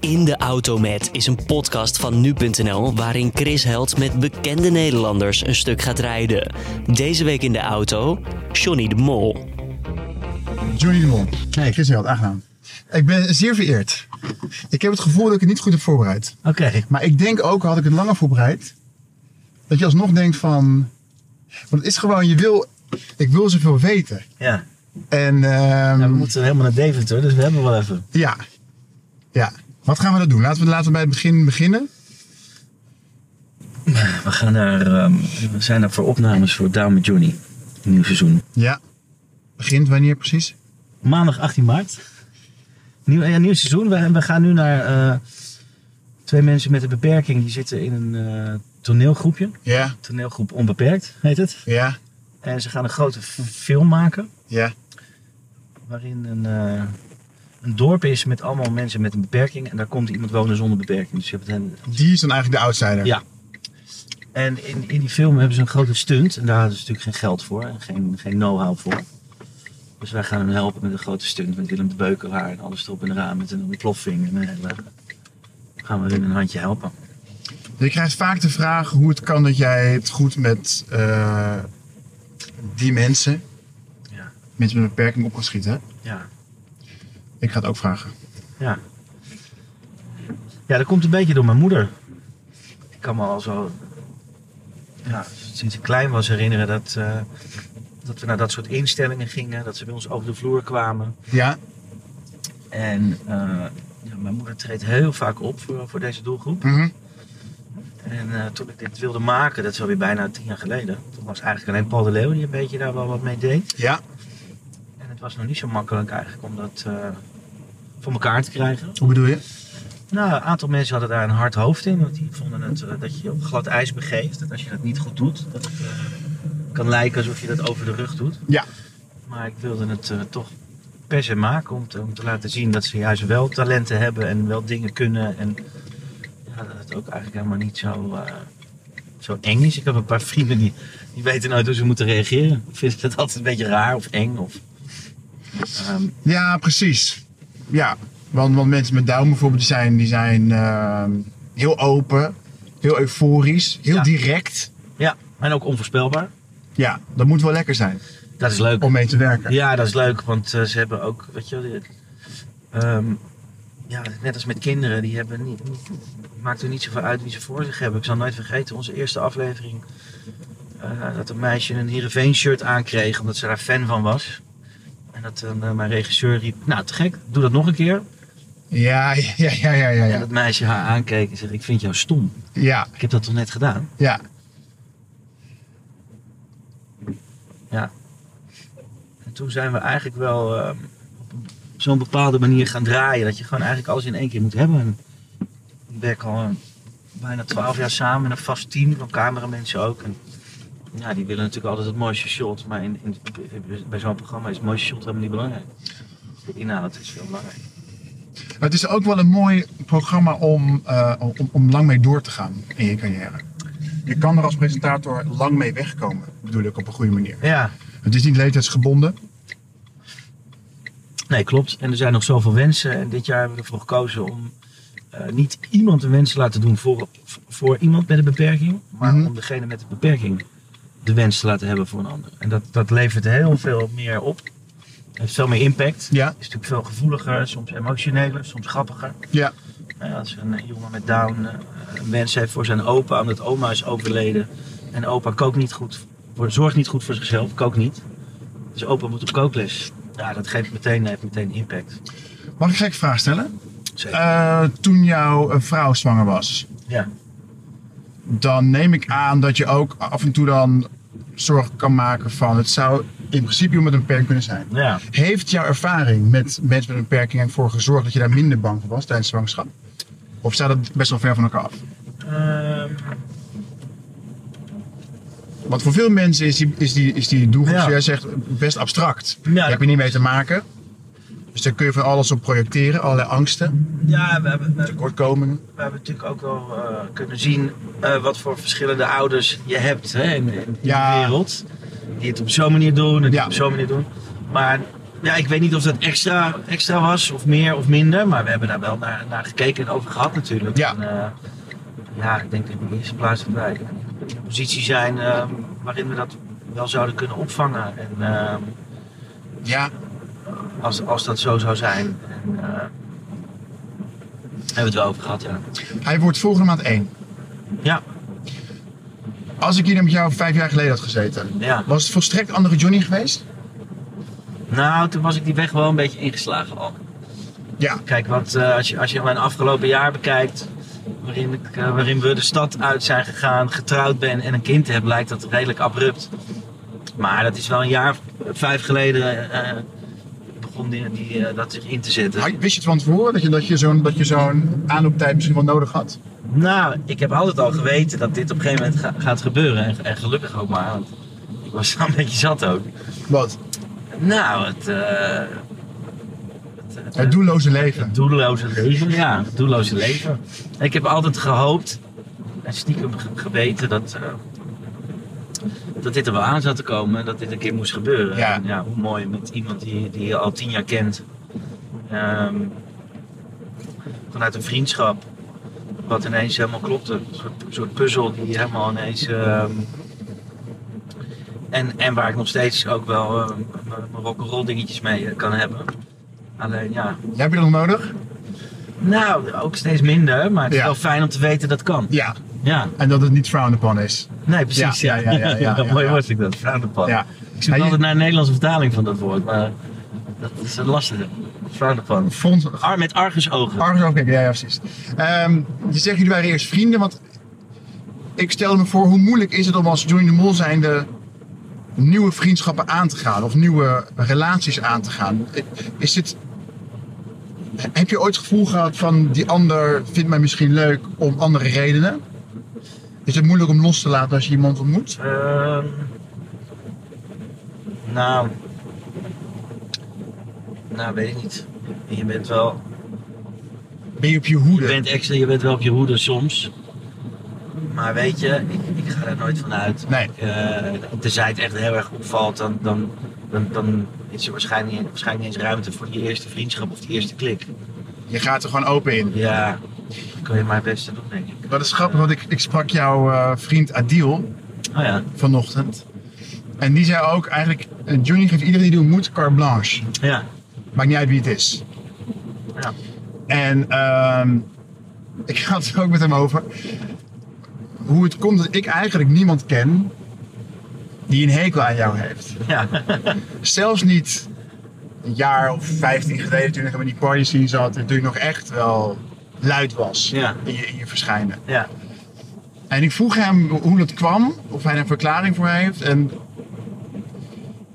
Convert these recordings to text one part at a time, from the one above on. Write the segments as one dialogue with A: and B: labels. A: In de Auto Met is een podcast van nu.nl waarin Chris Held met bekende Nederlanders een stuk gaat rijden. Deze week in de auto, Johnny de Mol.
B: Johnny de Mol. Nee, Chris Held, aangenaam. Ik ben zeer vereerd. Ik heb het gevoel dat ik het niet goed heb voorbereid.
C: Oké.
B: Maar ik denk ook, had ik het langer voorbereid, dat je alsnog denkt van... Want het is gewoon, je wil... Ik wil zoveel weten.
C: Ja.
B: En ehm,
C: ja. We moeten helemaal naar Deventer, dus we hebben wel even.
B: ja. Ja. Wat gaan we dan doen? Laten we, laten we bij het begin beginnen.
C: We, gaan naar, ehm, we zijn er voor opnames voor Down met Johnny. Nieuw seizoen.
B: Ja. Begint wanneer precies?
C: Maandag 18 maart. Nieuw, ja, nieuw seizoen. We, we gaan nu naar eh, twee mensen met een beperking. Die zitten in een eh, toneelgroepje.
B: Ja.
C: Toneelgroep Onbeperkt heet het.
B: Ja.
C: En ze gaan een grote f- film maken.
B: Ja.
C: Waarin een, eh, een dorp is met allemaal mensen met een beperking. En daar komt iemand wonen zonder beperking. Dus je hebt hen
B: Die is dan eigenlijk de outsider.
C: Ja. En in, in die film hebben ze een grote stunt. En daar hadden ze natuurlijk geen geld voor en geen, geen know-how voor. Dus wij gaan hem helpen met een grote stunt. Met Willem de Beukelaar en alles erop en eraan. Met een ontploffing. En een hele... Gaan we hun een handje helpen.
B: Je krijgt vaak de vraag hoe het kan dat jij het goed met eh, die mensen,
C: Ja.
B: mensen met een beperking op kan schieten.
C: Ja.
B: Ik ga het ook vragen.
C: Ja. Ja, dat komt een beetje door mijn moeder. Ik kan me al zo... Ja, sinds ik klein was herinneren dat... eh, dat we naar dat soort instellingen gingen. Dat ze bij ons over de vloer kwamen.
B: Ja,
C: En eh, ja, mijn moeder treedt heel vaak op voor, voor deze doelgroep.
B: mhm.
C: En eh, toen ik dit wilde maken, dat is alweer bijna tien jaar geleden. Toen was eigenlijk alleen Paul de Leeuw die een beetje daar wel wat mee deed.
B: ja.
C: En het was nog niet zo makkelijk eigenlijk om dat eh, voor elkaar te krijgen.
B: Hoe bedoel je?
C: Nou, een aantal mensen hadden daar een hard hoofd in. Want die vonden het, eh, dat je je op glad ijs begeeft. Dat als je dat niet goed doet, dat het eh, kan lijken alsof je dat over de rug doet.
B: Ja.
C: Maar ik wilde het eh, toch per se maken om te, om te laten zien dat ze juist wel talenten hebben en wel dingen kunnen. En ja, dat het ook eigenlijk helemaal niet zo, eh, zo eng is. Ik heb een paar vrienden die, die weten nooit hoe ze moeten reageren. Ik vind dat altijd een beetje raar of eng. Of, ehm,
B: Ja, precies. Ja, want, want mensen met Down bijvoorbeeld, die zijn, die zijn ehm, heel open, heel euforisch, heel
C: Ja.
B: direct.
C: ja, en ook onvoorspelbaar.
B: Ja, dat moet wel lekker zijn
C: Dat is leuk.
B: om mee te werken.
C: Ja, dat is leuk, want eh, ze hebben ook, weet je, wel, die- ehm, ja, net als met kinderen, die hebben niet, niet- maakt er niet zoveel uit wie ze voor zich hebben. Ik zal nooit vergeten onze eerste aflevering eh, dat een meisje een Heerenveen shirt aankreeg omdat ze daar fan van was. En dat eh, mijn regisseur riep, nou te gek, doe dat nog een keer.
B: Ja, ja, ja, ja, ja, ja.
C: En
B: Ja,
C: dat meisje haar aankeek en zegt, ik vind jou stom.
B: ja.
C: Ik heb dat toch net gedaan?
B: ja.
C: En toen zijn we eigenlijk wel ehm, op een- zo'n bepaalde manier gaan draaien. Dat je gewoon eigenlijk alles in één keer moet hebben. En ik werk al eh, bijna twaalf jaar samen in een vast team van cameramensen ook. En ja, die willen natuurlijk altijd het mooiste shot. Maar in, in, bij zo'n programma is het mooiste shot helemaal niet belangrijk. De inhoud is veel belangrijk.
B: Maar het is ook wel een mooi programma om, eh, om, om lang mee door te gaan in je carrière. Je kan er als presentator lang mee wegkomen, bedoel ik, op een goede manier.
C: Ja,
B: Het is niet leeftijdsgebonden.
C: nee, klopt. En er zijn nog zoveel wensen. En dit jaar hebben we ervoor gekozen om eh, niet iemand een wens te laten doen voor, voor iemand met een beperking. Maar
B: Mhm.
C: om degene met een beperking de wens te laten hebben voor een ander. En dat, dat levert heel veel meer op. Het heeft veel meer impact.
B: Ja.
C: Is natuurlijk veel gevoeliger, soms emotioneler, soms grappiger.
B: Ja.
C: Nou ja, als een eh, jongen met Down eh, een wens heeft voor zijn opa, omdat oma is overleden. En opa kookt niet goed, voor- zorgt niet goed voor zichzelf, kookt niet. Dus opa moet op kookles. Ja, dat geeft meteen, heeft meteen impact.
B: Mag ik gek vraag stellen?
C: Zeker.
B: Eh, toen jouw eh, vrouw zwanger was,
C: ja.
B: dan neem ik aan dat je ook af en toe dan zorg kan maken van het zou in principe iemand met een beperking kunnen zijn.
C: Nou ja.
B: Heeft jouw ervaring met mensen met een beperking ervoor gezorgd dat je daar minder bang voor was tijdens zwangerschap? Of staat dat best wel ver van elkaar af?
C: Ehm,
B: Want voor veel mensen is die, is die, is die doelgroep,
C: Ja.
B: zoals jij zegt, best abstract.
C: Ja,
B: Daar
C: dat
B: heb je niet mee te maken. Dus daar kun je van alles op projecteren, allerlei angsten,
C: ja, we hebben, we-
B: tekortkomingen.
C: we hebben natuurlijk ook wel eh, kunnen zien eh, wat voor verschillende ouders je hebt hè, in, in
B: Ja.
C: de wereld. Die het op zo'n manier doen en die
B: Ja.
C: het op zo'n manier doen. Maar Ja, ik weet niet of dat extra, extra was of meer of minder, maar we hebben daar wel naar, naar gekeken en over gehad natuurlijk.
B: Ja.
C: En, eh, ja, ik denk dat in de eerste plaats dat wij in een positie zijn ehm, waarin we dat wel zouden kunnen opvangen. En ehm,
B: Ja,
C: als, als dat zo zou zijn. En, eh, hebben we het wel over gehad, ja.
B: hij wordt volgende maand één.
C: Ja,
B: Als ik hier met jou vijf jaar geleden had gezeten,
C: ja.
B: was het volstrekt andere Johnny geweest?
C: Nou, toen was ik die weg wel een beetje ingeslagen al.
B: Ja.
C: Kijk, wat, eh, als, je, als je mijn afgelopen jaar bekijkt, waarin, ik, eh, waarin we de stad uit zijn gegaan, getrouwd ben en een kind heb, lijkt dat redelijk abrupt. Maar dat is wel een jaar of vijf geleden eh, begon die, die, eh, dat zich in te zetten.
B: Had- Wist je het van tevoren dat je, dat je zo'n dat je zo'n aanlooptijd misschien wel nodig had?
C: Nou, ik heb altijd al geweten dat dit op een gegeven moment ga- gaat gebeuren. En, en gelukkig ook maar, want ik was wel een beetje zat ook.
B: Wat?
C: Nou, het... eh, het- het-
B: Het doelloze leven.
C: Het doelloze leven, ja. Het doelloze leven. Ik heb altijd gehoopt en stiekem ge- geweten dat, eh, dat dit er wel aan zat te komen. en Dat dit een keer moest gebeuren.
B: Ja.
C: En ja hoe mooi met iemand die, die je al tien jaar kent. Ehm, vanuit een vriendschap. Wat ineens helemaal klopte. Een soort, soort puzzel die helemaal ineens... ehm, en, en waar ik nog steeds ook wel ehm, mijn mijn rock'n'roll dingetjes mee eh, kan hebben. Alleen ja,
B: Heb je dat nog nodig?
C: nou, ook steeds minder, maar het is
B: Ja.
C: wel fijn om te weten dat kan.
B: Ja.
C: Ja,
B: En dat het niet frowned upon is.
C: nee, precies.
B: Ja, ja,
C: Ja,
B: ja, ja, ja, ja,
C: mooi
B: ja.
C: was ik dat, fraudepan.
B: Ja.
C: Ik zoek
B: Ja, je-
C: altijd naar een Nederlandse vertaling van dat woord, maar dat is een lastige. Fraudepan.
B: Front,
C: Ar met argusogen.
B: Argus afkijken, ja, ja precies. Ehm, je zegt jullie waren eerst vrienden, want ik stelde me voor hoe moeilijk is het om als Johnny de Mol zijnde nieuwe vriendschappen aan te gaan of nieuwe relaties aan te gaan. Is dit, heb je ooit het gevoel gehad van die ander vindt mij misschien leuk om andere redenen? Is het moeilijk om los te laten als je iemand ontmoet?
C: Ehm, nou, nou, weet ik niet. Je bent wel,
B: Ben je op je
C: je
B: hoede?
C: bent extra, je bent wel op je hoede soms. Maar weet je, ik, ik ga daar nooit van uit.
B: Nee.
C: eh tenzij het echt heel erg opvalt, dan, dan, dan, dan is er waarschijnlijk, waarschijnlijk niet eens ruimte voor die eerste vriendschap of die eerste klik.
B: Je gaat er gewoon open in.
C: Ja, dat kan je maar het beste doen, denk ik.
B: Dat is grappig, want ik, ik sprak jouw eh, vriend Adil
C: Oh ja,
B: vanochtend. En die zei ook eigenlijk, eh, Johnny geeft iedereen die doet moet carte blanche.
C: ja,
B: Maakt niet uit wie het is.
C: ja.
B: En ehm, ik had het ook met hem over. Hoe het komt dat ik eigenlijk niemand ken die een hekel aan jou heeft.
C: ja.
B: Zelfs niet een jaar of vijftien geleden toen ik in die party scene zat en toen ik nog echt wel luid was
C: Ja.
B: in, je, in je verschijnen.
C: ja.
B: En ik vroeg hem hoe dat kwam, of hij daar een verklaring voor heeft. En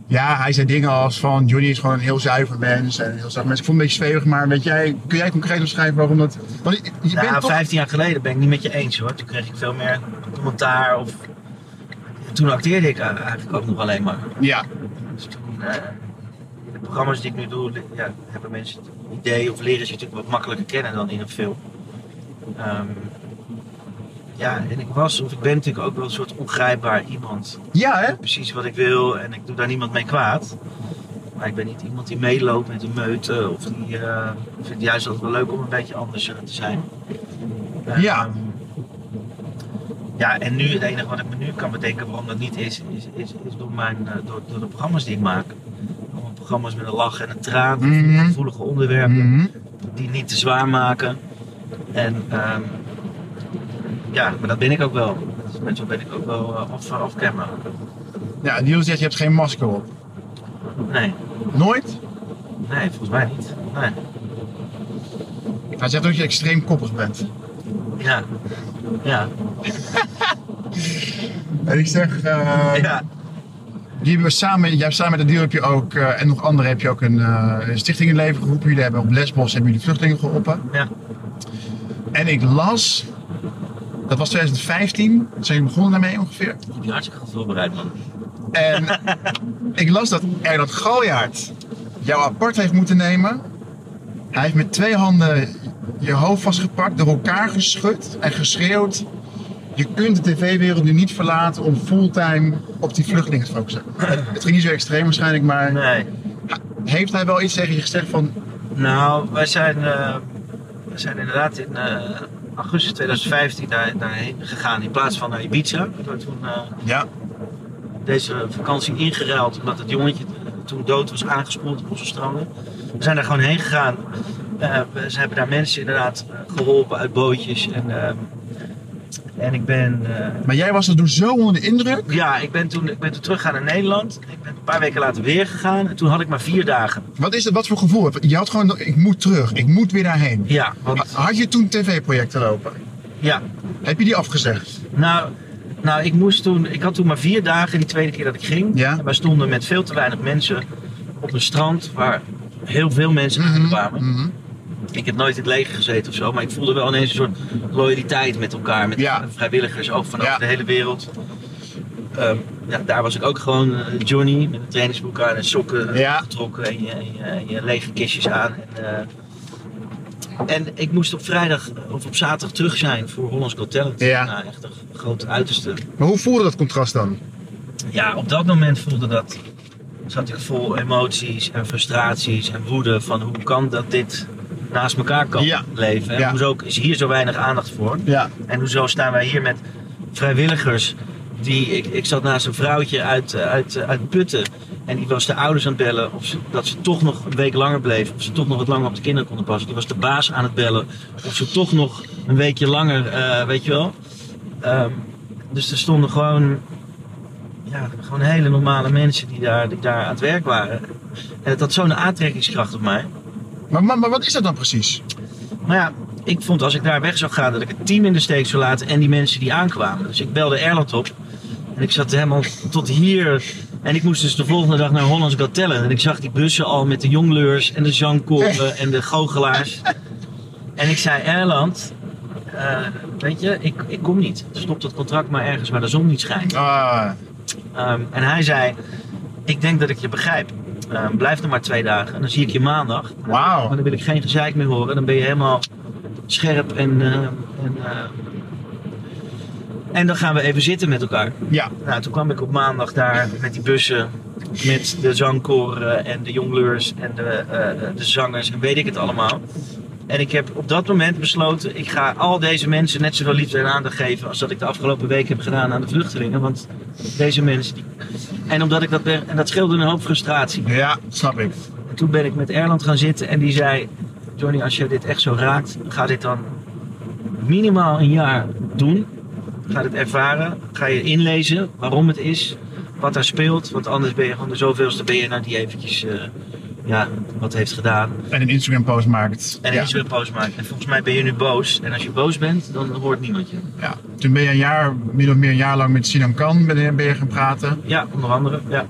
B: ja, hij zei dingen als van Johnny is gewoon een heel zuiver mens en een heel zuiver mens. Ik vond het een beetje zweverig, maar weet jij, kun jij concreet omschrijven waarom dat? Want je je
C: Nou,
B: bent toch...
C: 15 jaar geleden ben ik niet met je eens hoor. Toen kreeg ik veel meer commentaar of... Toen acteerde ik eigenlijk ook nog alleen maar.
B: Ja,
C: Dus toen, eh, in de programma's die ik nu doe, li- ja, hebben mensen het idee of leren ze natuurlijk wat makkelijker kennen dan in een film. Ehm, ja, en ik was of ik ben natuurlijk ook wel een soort ongrijpbaar iemand.
B: ja
C: Ik
B: hè?
C: doe precies wat ik wil en ik doe daar niemand mee kwaad. Maar ik ben niet iemand die meeloopt met een meute of die eh, ik vind juist altijd wel leuk om een beetje anders eh, te zijn. Ehm,
B: Ja.
C: ja, en nu het enige wat ik me nu kan bedenken waarom dat niet is, is, is, is door, mijn, eh, door, door de programma's die ik maak. Allemaal programma's met een lach en een traan,
B: Mhm.
C: gevoelige onderwerpen
B: Mhm.
C: die niet te zwaar maken. En ehm, ja, maar dat ben ik ook wel. Dat is- Met zo ben ik ook wel eh, off, off camera.
B: Ja, Niels zegt je hebt geen masker op.
C: Nee,
B: Nooit?
C: nee, volgens mij niet. Nee.
B: Hij zegt ook dat je extreem koppig bent.
C: Ja. Ja.
B: En ik zeg, eh,
C: ja.
B: jullie hebben samen, jij hebt samen met Adil heb je ook, eh, en nog anderen heb je ook een eh, een stichting in het leven geroepen. Jullie hebben op Lesbos hebben jullie vluchtelingen geholpen.
C: ja.
B: En ik las, dat was 2015, zijn jullie begonnen daarmee ongeveer.
C: Je hebt je hartstikke goed voorbereid, man.
B: En ik las dat Ernst Galjaard jou apart heeft moeten nemen. Hij heeft met twee handen je hoofd vastgepakt, door elkaar geschud en geschreeuwd. Je kunt de tv-wereld nu niet verlaten om fulltime op die vluchtelingen te focussen. Het ging niet zo extreem waarschijnlijk, maar
C: Nee.
B: Heeft hij wel iets tegen je gezegd van,
C: Nou, wij zijn, eh, wij zijn inderdaad in eh, augustus 2015 daar, daarheen gegaan in plaats van naar Ibiza. We hebben toen eh,
B: ja,
C: deze vakantie ingeruild omdat het jongetje t- toen dood was aangespoeld op onze stranden. We zijn daar gewoon heen gegaan. Eh, we- ze hebben daar mensen inderdaad eh, geholpen uit bootjes. En, eh, en ik ben... eh,
B: maar jij was er toen zo onder de indruk.
C: ja, ik ben toen, ik ben toen teruggegaan naar Nederland. Ik ben een paar weken later weer gegaan. En toen had ik maar vier dagen.
B: Wat is dat, wat voor gevoel? heb je? Je had gewoon, ik moet terug, ik moet weer daarheen.
C: Ja, want...
B: Had je toen tv-projecten lopen?
C: Ja,
B: Heb je die afgezegd?
C: Nou, nou ik, moest toen, ik had toen maar vier dagen die tweede keer dat ik ging.
B: Ja.
C: En wij stonden met veel te weinig mensen op een strand waar heel veel mensen
B: Mhm,
C: kwamen.
B: mhm.
C: Ik heb nooit in het leger gezeten of zo, maar ik voelde wel ineens een soort loyaliteit met elkaar. Met
B: Ja.
C: vrijwilligers ook van
B: Ja.
C: over de hele wereld. Ehm, ja, daar was ik ook gewoon eh, Johnny met een trainingsboek aan en sokken
B: Ja.
C: getrokken en je, en je, en je lege kistjes aan. En, eh, en ik moest op vrijdag of op zaterdag terug zijn voor Hollands Got Talent.
B: Ja.
C: Nou, echt een groot uiterste.
B: Maar hoe voelde dat contrast dan?
C: Ja, op dat moment voelde dat. zat ik vol emoties en frustraties en woede. van hoe kan dat dit naast elkaar kan
B: Ja.
C: leven? En
B: Ja.
C: hoezo is hier zo weinig aandacht voor?
B: Ja.
C: En hoezo staan wij hier met vrijwilligers? Die, ik, ik zat naast een vrouwtje uit, eh, uit, eh, uit Putten. En die was de ouders aan het bellen of ze, dat ze toch nog een week langer bleef. Of ze toch nog wat langer op de kinderen konden passen. Die was de baas aan het bellen of ze toch nog een weekje langer, eh, weet je wel. Ehm, dus er stonden gewoon, ja, gewoon hele normale mensen die daar, die daar aan het werk waren. En het had zo'n aantrekkingskracht op mij.
B: Maar, maar, maar wat is dat dan precies?
C: Maar Nou ja, ik vond als ik daar weg zou gaan dat ik het team in de steek zou laten en die mensen die aankwamen. Dus ik belde Erland op en ik zat helemaal tot hier. En ik moest dus de volgende dag naar Hollands Got Talent. En ik zag die bussen al met de jongleurs en de zangkoren en de goochelaars. En ik zei, Erland, eh, weet je, ik, ik kom niet. Stop dat contract maar ergens waar de zon niet schijnt.
B: Ah,
C: Ehm, en hij zei, ik denk dat ik je begrijp. Ehm, blijf er maar twee dagen en dan zie ik je maandag.
B: Wauw.
C: Maar dan wil ik geen gezeik meer horen. Dan ben je helemaal scherp en... ehm, en ehm, en dan gaan we even zitten met elkaar.
B: ja.
C: Nou, toen kwam ik op maandag daar met die bussen, met de zangkoren en de jongleurs en de, eh, de zangers en weet ik het allemaal. En ik heb op dat moment besloten, ik ga al deze mensen net zoveel liefde en aandacht geven als dat ik de afgelopen week heb gedaan aan de vluchtelingen. Want deze mensen, die... en omdat ik dat ben, en dat scheelde een hoop frustratie.
B: Ja, snap ik.
C: En toen ben ik met Erland gaan zitten en die zei, Johnny, als je dit echt zo raakt, ga dit dan minimaal een jaar doen. Ga dit ervaren, ga je inlezen waarom het is, wat daar speelt. Want anders ben je gewoon de zoveelste BN'er die eventjes eh, ja, wat heeft gedaan.
B: En een Instagram-post maakt.
C: En
B: ja.
C: iets weer boos maakt. En volgens mij ben je nu boos. En als je boos bent, dan hoort niemand je.
B: ja. Toen ben je een jaar, min of meer een jaar lang met Sinan Kan ben, ben je gaan praten.
C: Ja, onder andere. Ja.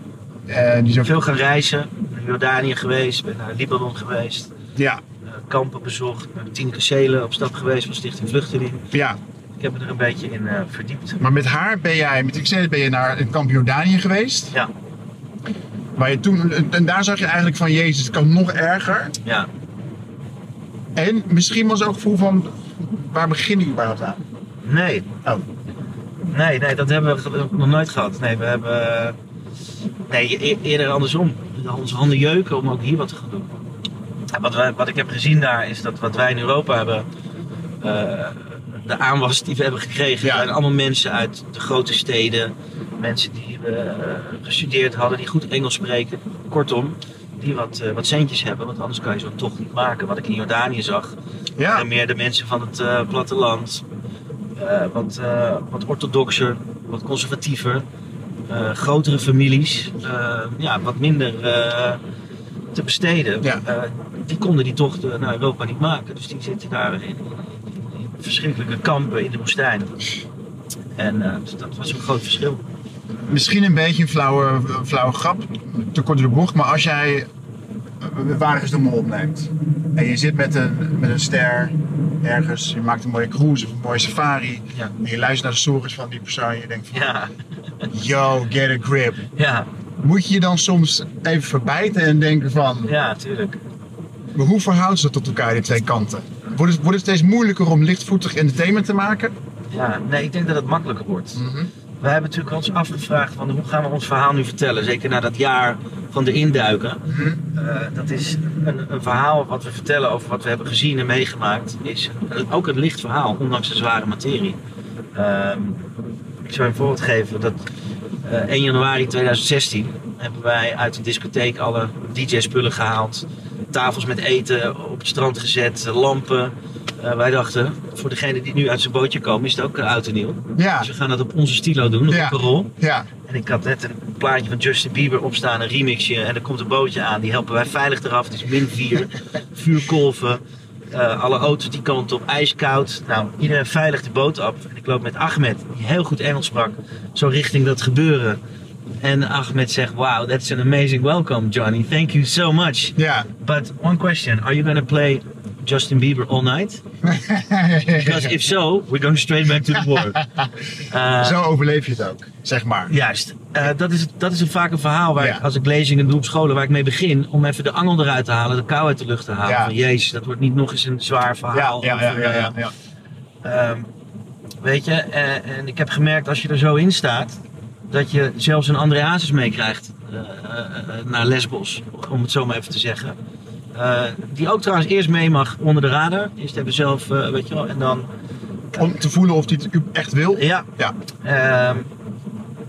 B: En die zo,
C: Veel gaan reizen. Naar Jordanië geweest, ben naar Libanon geweest.
B: ja,
C: eh, kampen bezocht, naar de Tienke Zelen op stap geweest van Stichting Vluchteling.
B: ja.
C: Ik heb me er een beetje in eh, verdiept.
B: Maar met haar ben jij, met Xena ben je naar het kamp Jordanië geweest.
C: Ja,
B: Waar je toen, en daar zag je eigenlijk van, jezus, het kan nog erger.
C: ja.
B: En misschien was ook het gevoel van, waar begin ik überhaupt aan?
C: Nee,
B: Oh,
C: nee, nee, dat hebben we ge- nog nooit gehad. Nee, we hebben. eh, Nee, e- eerder andersom. Onze handen jeuken om ook hier wat te gaan doen. En Wat, wij, wat ik heb gezien daar is dat wat wij in Europa hebben. eh, de aanwas die we hebben gekregen.
B: Ja.
C: zijn allemaal mensen uit de grote steden. Mensen die eh, gestudeerd hadden, die goed Engels spreken. Kortom, die wat, eh, wat centjes hebben. Want anders kan je zo'n tocht niet maken. Wat ik in Jordanië zag.
B: ja.
C: En meer de mensen van het eh, platteland. Eh, wat, eh, wat orthodoxer, wat conservatiever. eh, grotere families. eh, ja, wat minder eh, te besteden.
B: Ja.
C: Eh, die konden die tocht eh, naar Europa niet maken. Dus die zitten daar in, in verschrikkelijke kampen in de woestijn. En eh, dus dat was een groot verschil.
B: Misschien een beetje een flauwe, flauwe grap, te kort door de bocht, maar als jij eh, waar is de mol opneemt en je zit met een, met een ster ergens, je maakt een mooie cruise of een mooie safari
C: Ja.
B: en je luistert naar de stories van die persoon en je denkt van,
C: Ja,
B: yo, get a grip.
C: ja,
B: Moet je je dan soms even verbijten en denken van,
C: ja, tuurlijk.
B: maar hoe verhoudt ze dat tot elkaar, die twee kanten? Wordt het, wordt het steeds moeilijker om lichtvoetig entertainment te maken?
C: Ja, nee, ik denk dat het makkelijker wordt. Wij hebben natuurlijk ons afgevraagd van hoe gaan we ons verhaal nu vertellen. Zeker na dat jaar gewoon erin duiken. Eh, dat is een, een verhaal wat we vertellen over wat we hebben gezien en meegemaakt. Is een- ook een licht verhaal, ondanks de zware materie. Ehm, ik zou je een voorbeeld geven. Dat, eh, 1 januari 2016 hebben wij uit de discotheek alle DJ-spullen gehaald. Tafels met eten op het strand gezet, lampen. Eh, wij dachten, voor degene die nu uit zijn bootje komen, is het ook eh, oud en nieuw.
B: Ja,
C: Dus we gaan dat op onze stilo doen, op
B: Ja.
C: de rol.
B: ja,
C: En ik had net een plaatje van Justin Bieber opstaan, een remixje. En er komt een bootje aan, die helpen wij veilig eraf. Het is min 4, vuurkolven, eh, alle auto's die kant op, ijskoud. Nou, iedereen veilig de boot af. En ik loop met Ahmed, die heel goed Engels sprak, zo richting dat gebeuren. En Ahmed zegt, wow, that's an amazing welcome, Johnny. Thank you so much.
B: ja.
C: But one question, are you gonna play Justin Bieber all night? Because if so, we're going straight back to the war. Eh,
B: Zo overleef je het ook, zeg maar.
C: Juist. Eh, dat, is, dat is een vaak een verhaal waar
B: Ja.
C: ik, als ik lezingen doe op scholen, waar ik mee begin. Om even de angel eruit te halen, de kou uit de lucht te halen.
B: Ja.
C: Van jezus, dat wordt niet nog eens een zwaar
B: Ja,
C: verhaal.
B: ja, ja,
C: over,
B: ja, ja, ja.
C: eh, ehm, weet je, eh, en ik heb gemerkt als je er zo in staat, dat je zelfs een Andreasus meekrijgt eh, eh, eh, naar Lesbos. Om het zo maar even te zeggen. Eh, die ook trouwens eerst mee mag onder de radar. Eerst hebben zelf, eh, weet je wel, en dan
B: Om te voelen of hij het echt wil.
C: ja.
B: Ja.
C: Ehm,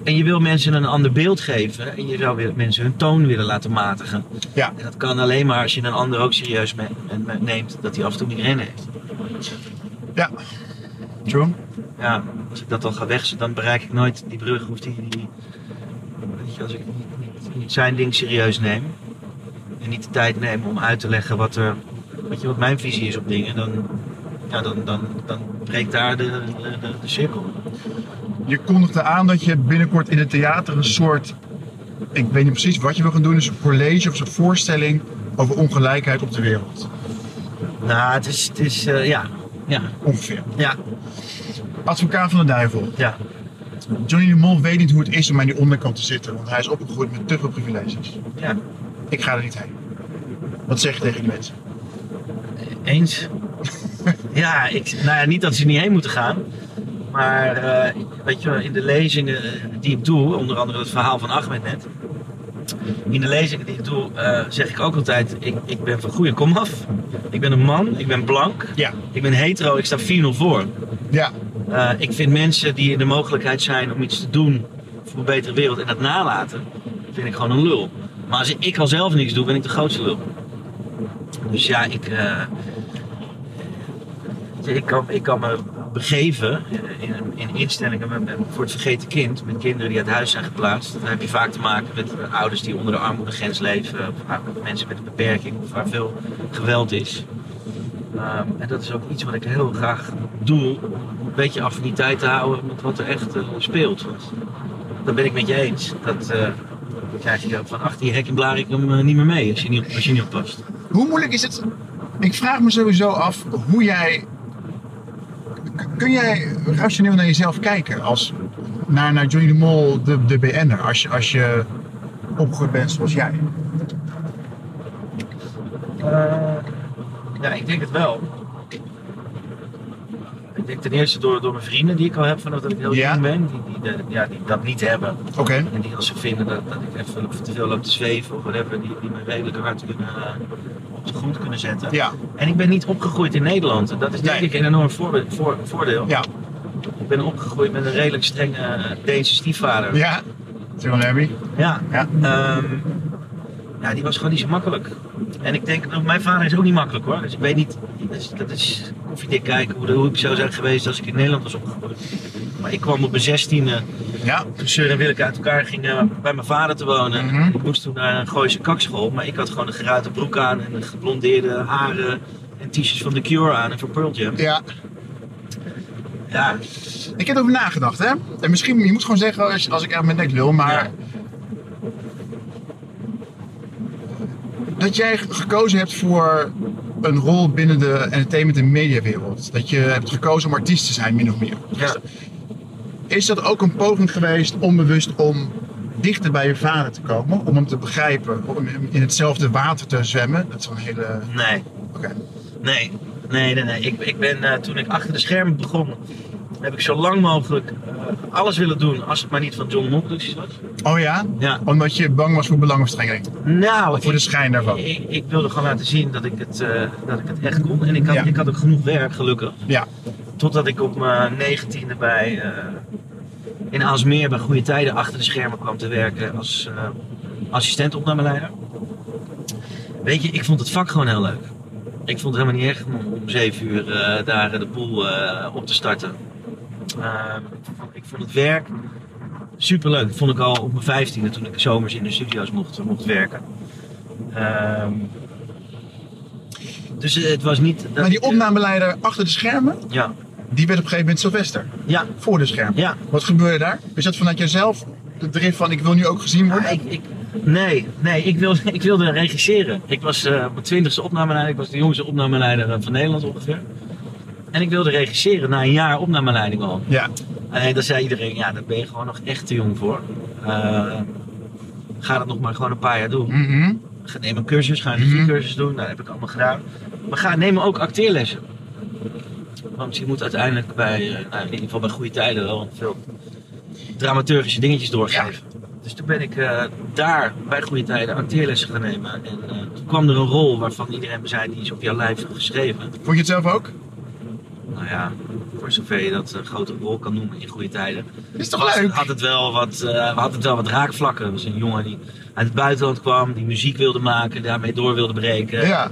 C: en je wil mensen een ander beeld geven. En je zou weer mensen hun toon willen laten matigen.
B: Ja.
C: En dat kan alleen maar als je een ander ook serieus me- me- neemt. Dat hij af en toe migraine heeft.
B: Ja. True.
C: Ja, als ik dat dan ga weg, dan bereik ik nooit die brug. Of die, die- weet je, als ik niet, niet- niet zijn ding serieus neem. En niet de tijd neem om uit te leggen wat, er, weet je, wat mijn visie is op dingen. Dan, ja, dan, dan, dan breekt daar de, de, de, de cirkel.
B: Je kondigde aan dat je binnenkort in het theater een soort, ik weet niet precies wat je wil gaan doen, dus een college of zo'n voorstelling over ongelijkheid op de wereld.
C: Nou, het is, het is eh, ja. Ja,
B: Ongeveer.
C: ja,
B: Advocaat van de duivel.
C: ja.
B: Johnny de Mol weet niet hoe het is om aan die onderkant te zitten, want hij is opgegroeid met te veel privileges.
C: Ja,
B: Ik ga er niet heen. Wat zeg je tegen die mensen?
C: eens. ja, ik, nou ja, niet dat ze er niet heen moeten gaan. Maar eh, weet je, wel, in de lezingen die ik doe, onder andere het verhaal van Ahmed net. In de lezingen die ik doe, eh, zeg ik ook altijd: ik, ik ben van goede komaf. Ik ben een man, ik ben blank,
B: Ja.
C: ik ben hetero, ik sta 4-0 voor.
B: Ja,
C: Eh, ik vind mensen die in de mogelijkheid zijn om iets te doen voor een betere wereld en dat nalaten, vind ik gewoon een lul. Maar als ik al zelf niks doe, ben ik de grootste lul. Dus ja, ik, eh, weet je, ik, kan, ik kan me begeven in, in instellingen met- met- voor het vergeten kind, met kinderen die uit huis zijn geplaatst. Dan heb je vaak te maken met eh, ouders die onder de armoedegrens leven, of mensen met een beperking, of waar veel geweld is. Ehm, en dat is ook iets wat ik heel graag doe. Om een beetje affiniteit te houden met wat er echt eh, speelt. Want dat ben ik met je eens. Dat eh, dan krijg je van achter je hek en blaar ik hem eh, niet meer mee als je niet, op- als je niet oppast.
B: Hoe moeilijk is het? Ik vraag me sowieso af hoe jij. K- Kun jij rationeel naar jezelf kijken als naar, naar Johnny de Mol, de, de BN'er, als je, als je opgegroeid bent zoals jij?
C: ja, ik denk het wel. Ik denk ten eerste door, door mijn vrienden die ik al heb vanaf dat ik heel
B: Ja.
C: jong ben. Die, die, de- ja, die dat niet hebben.
B: Oké.
C: En die als ze vinden dat, dat ik even te veel loop te zweven of whatever. Die, die me redelijk hard kunnen, eh, op de grond kunnen zetten.
B: Ja,
C: En ik ben niet opgegroeid in Nederland. En Dat is denk
B: Nee.
C: ik een enorm voorbe- voor- voordeel.
B: ja,
C: Ik ben opgegroeid met een redelijk strenge eh, Deense stiefvader.
B: ja. Toen Larry.
C: Ja.
B: Ja.
C: Ehm, ja, die was gewoon niet zo makkelijk. En ik denk, nou, mijn vader is ook niet makkelijk hoor. Dus ik weet niet, dat is, dat is koffiedik kijken hoe, de- hoe ik zou zijn geweest als ik in Nederland was opgegroeid. Maar ik kwam op mijn zestiende,
B: Ja,
C: toen Seur en Willeke uit elkaar gingen, bij mijn vader te wonen.
B: Mhm.
C: Ik moest toen naar een Gooise kakschool, maar ik had gewoon een geruite broek aan en een geblondeerde haren en t-shirts van The Cure aan en van Pearl Jam.
B: ja.
C: Ja,
B: Ik heb erover nagedacht, hè? En misschien, je moet gewoon zeggen als, als ik echt mijn nek lul, maar.
C: Ja.
B: Dat jij gekozen hebt voor een rol binnen de entertainment- en mediawereld. Dat je hebt gekozen om artiest te zijn, min of meer.
C: ja.
B: Is dat ook een poging geweest, onbewust, om dichter bij je vader te komen? Om hem te begrijpen, om hem in hetzelfde water te zwemmen? Dat is wel een hele...
C: Nee,
B: Oké.
C: nee, nee, nee. nee. Ik, ik ben eh, toen ik achter de schermen begon, heb ik zo lang mogelijk eh, alles willen doen als het maar niet van John Mockridge was.
B: Oh ja?
C: Ja.
B: Omdat je bang was voor belangenverstrengeling.
C: Nou,
B: Voor de schijn daarvan.
C: ik, ik, ik wilde gewoon laten zien dat ik het, eh, dat ik het echt kon. En ik had,
B: Ja.
C: ik had ook genoeg werk, gelukkig.
B: Ja.
C: Totdat ik op mijn negentiende bij, eh, in Aalsmeer bij Goede Tijden achter de schermen kwam te werken als eh assistent opnameleider. Weet je, ik vond het vak gewoon heel leuk. Ik vond het helemaal niet erg om om zeven uur eh, daar eh, de boel eh, op te starten. Eh, ik vond het werk superleuk. Dat vond ik al op mijn vijftiende toen ik zomers in de studio's mocht, mocht werken. Ehm, dus eh, het was niet... dat
B: Maar die
C: ik, eh,
B: opnameleider achter de schermen,
C: Ja,
B: die werd op een gegeven moment Sylvester.
C: ja,
B: Voor de schermen.
C: ja.
B: Wat gebeurde daar? Is dat vanuit jezelf de drift van ik wil nu ook gezien worden?
C: Ah, ik, ik, nee, nee ik, wilde, ik wilde regisseren. Ik was eh, mijn twintigste opnameleider. Ik was de jongste opnameleider eh, van Nederland ongeveer. En ik wilde regisseren na een jaar opnameleiding al.
B: Ja.
C: Alleen daar zei iedereen, ja, daar ben je gewoon nog echt te jong voor. Eh, ga dat nog maar gewoon een paar jaar doen.
B: Mhm.
C: Ga, neem een cursus, ga een
B: Mhm.
C: regiecursus doen. Dat heb ik allemaal gedaan. Maar ga neem ook acteerlessen. Want je moet uiteindelijk bij, eh, nou, in ieder geval bij goede tijden wel veel dramaturgische dingetjes doorgeven. Dus toen ben ik eh, daar bij goede tijden acteerlessen gaan nemen. En eh, toen kwam er een rol waarvan iedereen me zei, die is op jouw lijf geschreven.
B: Vond je het zelf ook?
C: Nou ja, voor zover je dat een grote rol kan noemen in goede tijden.
B: Is
C: Was-
B: toch leuk?
C: Had het, wel wat, eh, had het wel wat raakvlakken. Er was een jongen die uit het buitenland kwam, die muziek wilde maken, daarmee door wilde breken.
B: Ja.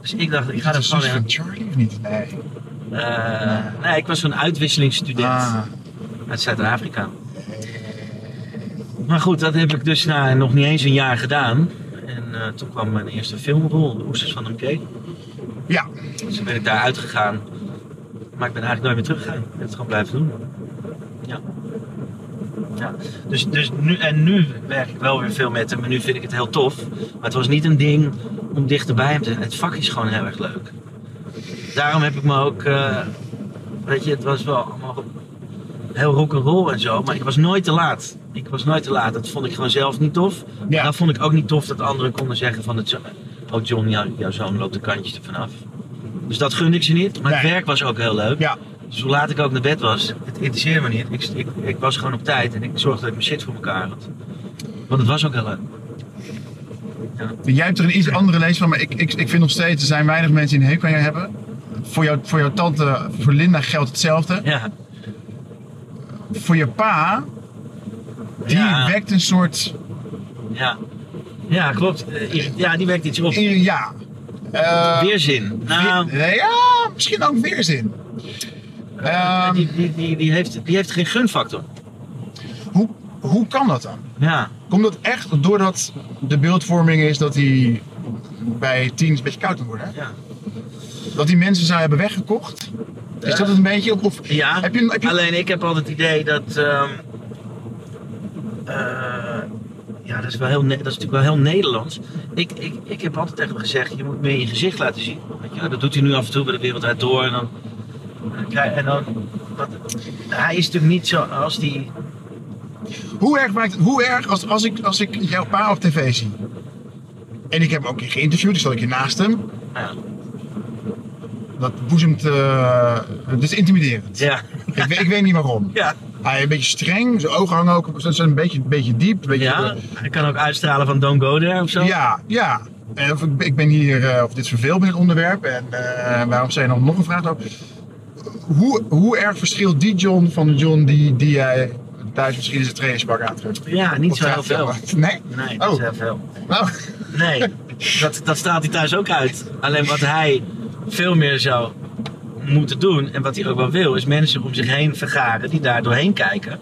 C: Dus ik dacht, ik
B: Is
C: ga
B: dat
C: er
B: een
C: gewoon
B: zus
C: in.
B: van Charlie of niet? Nee.
C: Eh, nee, ik was zo'n uitwisselingsstudent
B: Ah.
C: uit Zuid-Afrika. Maar goed, dat heb ik dus na nog niet eens een jaar gedaan. En eh, toen kwam mijn eerste filmrol, De Oesters van Mkee.
B: Ja.
C: Dus toen ben ik daar uitgegaan. Maar ik ben eigenlijk nooit meer teruggegaan. Ik heb het gewoon blijven doen. Ja. ja. Dus, dus nu, en nu werk ik wel weer veel met hem. En nu vind ik het heel tof. Maar het was niet een ding om dichterbij hem te zijn. Het vak is gewoon heel erg leuk. Daarom heb ik me ook... eh, weet je, het was wel allemaal heel rock'n'roll en zo. Maar ik was nooit te laat. Ik was nooit te laat. Dat vond ik gewoon zelf niet tof.
B: Ja.
C: En dat vond ik ook niet tof dat anderen konden zeggen van... Het, zo- oh John, jou- jouw zoon loopt de kantjes er vanaf. Dus dat gunde ik ze niet. Maar het
B: Nee.
C: werk was ook heel leuk.
B: Ja.
C: Dus hoe laat ik ook naar bed was, het interesseerde me niet. Ik, ik, ik was gewoon op tijd en ik zorgde dat ik mijn shit voor elkaar had. Want het was ook heel leuk.
B: Jij hebt er een iets andere lees van, maar ik, ik, ik vind nog steeds, er zijn weinig mensen die een hekel aan je hebben. Voor, jou, voor jouw tante, voor Linda geldt hetzelfde.
C: Ja,
B: Voor je pa, die
C: Ja.
B: wekt een soort,
C: ja. Ja, klopt. Eh, irri- Ja, die werkt iets op.
B: ja, eh,
C: Weerzin. Nou,
B: weer- ja, misschien ook weerzin. Ehm,
C: die, die, die, die, heeft, die heeft geen gunfactor.
B: hoe, hoe kan dat dan?
C: Ja.
B: Komt dat echt doordat de beeldvorming is dat hij bij teens een beetje koud kan worden? hè?
C: ja.
B: Dat die mensen zou hebben weggekocht? Is dat het een beetje? Of, of-
C: Ja,
B: heb je, heb je,
C: alleen ik heb altijd het idee dat. ehm, eh, ja, dat is, wel heel, Ne- dat is natuurlijk wel heel Nederlands. Ik, ik, ik heb altijd tegen hem gezegd: je moet meer je gezicht laten zien. Weet je, wel. dat doet hij nu af en toe bij de wereld uit door. En dan, en dan krijg- en dan, wat, hij is natuurlijk niet zo als die.
B: Hoe erg maakt het, hoe erg als, als, ik, als ik jouw pa op tv zie? En ik heb hem ook een keer geïnterviewd, dus zat ik hier naast hem.
C: Nou,
B: Dat boezemt, eh het is intimiderend.
C: ja,
B: Ik, weet- ik weet niet waarom.
C: ja.
B: Hij is een beetje streng, zijn ogen hangen ook, ze zijn een beetje, een beetje diep. Een beetje,
C: ja. Hij kan ook uitstralen van Don't Go There of zo.
B: ja, ja. En of ik, ik ben hier, eh, of dit verveelt me dit onderwerp en eh, waarom zijn er nog een vraag over? Hoe, hoe erg verschilt die John van de John die, die jij thuis misschien in zijn trainingspak aantrekt?
C: Ja, niet
B: Of
C: zo heel veel.
B: draagt- Nee?
C: Nee, dat is
B: Oh.
C: heel veel.
B: Nou,
C: Nee, dat, dat staat hij thuis ook uit. Alleen wat hij veel meer zou moeten doen en wat hij ook wel wil, is mensen om zich heen vergaren die daar doorheen kijken.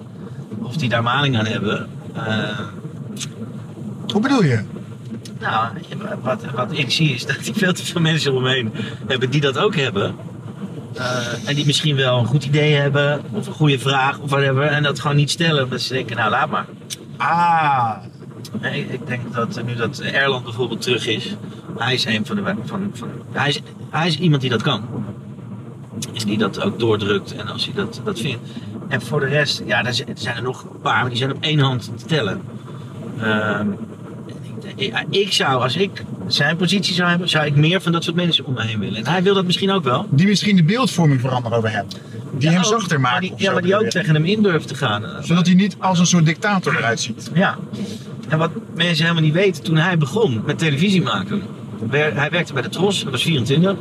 C: Of die daar maling aan hebben. Eh,
B: hoe bedoel je?
C: nou, wat, wat ik zie is dat hij veel te veel mensen omheen hebben die dat ook hebben. Eh, en die misschien wel een goed idee hebben, of een goede vraag, of whatever. En dat gewoon niet stellen, omdat ze denken, nou laat maar.
B: Ah,
C: Nee, ik denk dat eh, nu dat Erland bijvoorbeeld terug is, hij is een van de. Van, van, hij, is, hij is iemand die dat kan. En die dat ook doordrukt en als hij dat, dat vindt. En voor de rest, ja, er zijn er nog een paar, maar die zijn op één hand te tellen. Ehm, en ik denk, ja, ik zou, als ik zijn positie zou hebben, zou ik meer van dat soort mensen om me heen willen. En hij wil dat misschien ook wel.
B: Die misschien de beeldvorming veranderen over hem. Die
C: Ja,
B: hem
C: ook,
B: zachter
C: maar
B: maken.
C: die-
B: of
C: Ja,
B: zo
C: maar die ook
B: weer.
C: tegen hem in durft te gaan. eh.
B: Zodat hij niet als een soort dictator eruit ziet.
C: Ja. En wat mensen helemaal niet weten, toen hij begon met televisie maken. wer- Hij werkte bij de Tros, hij was 24.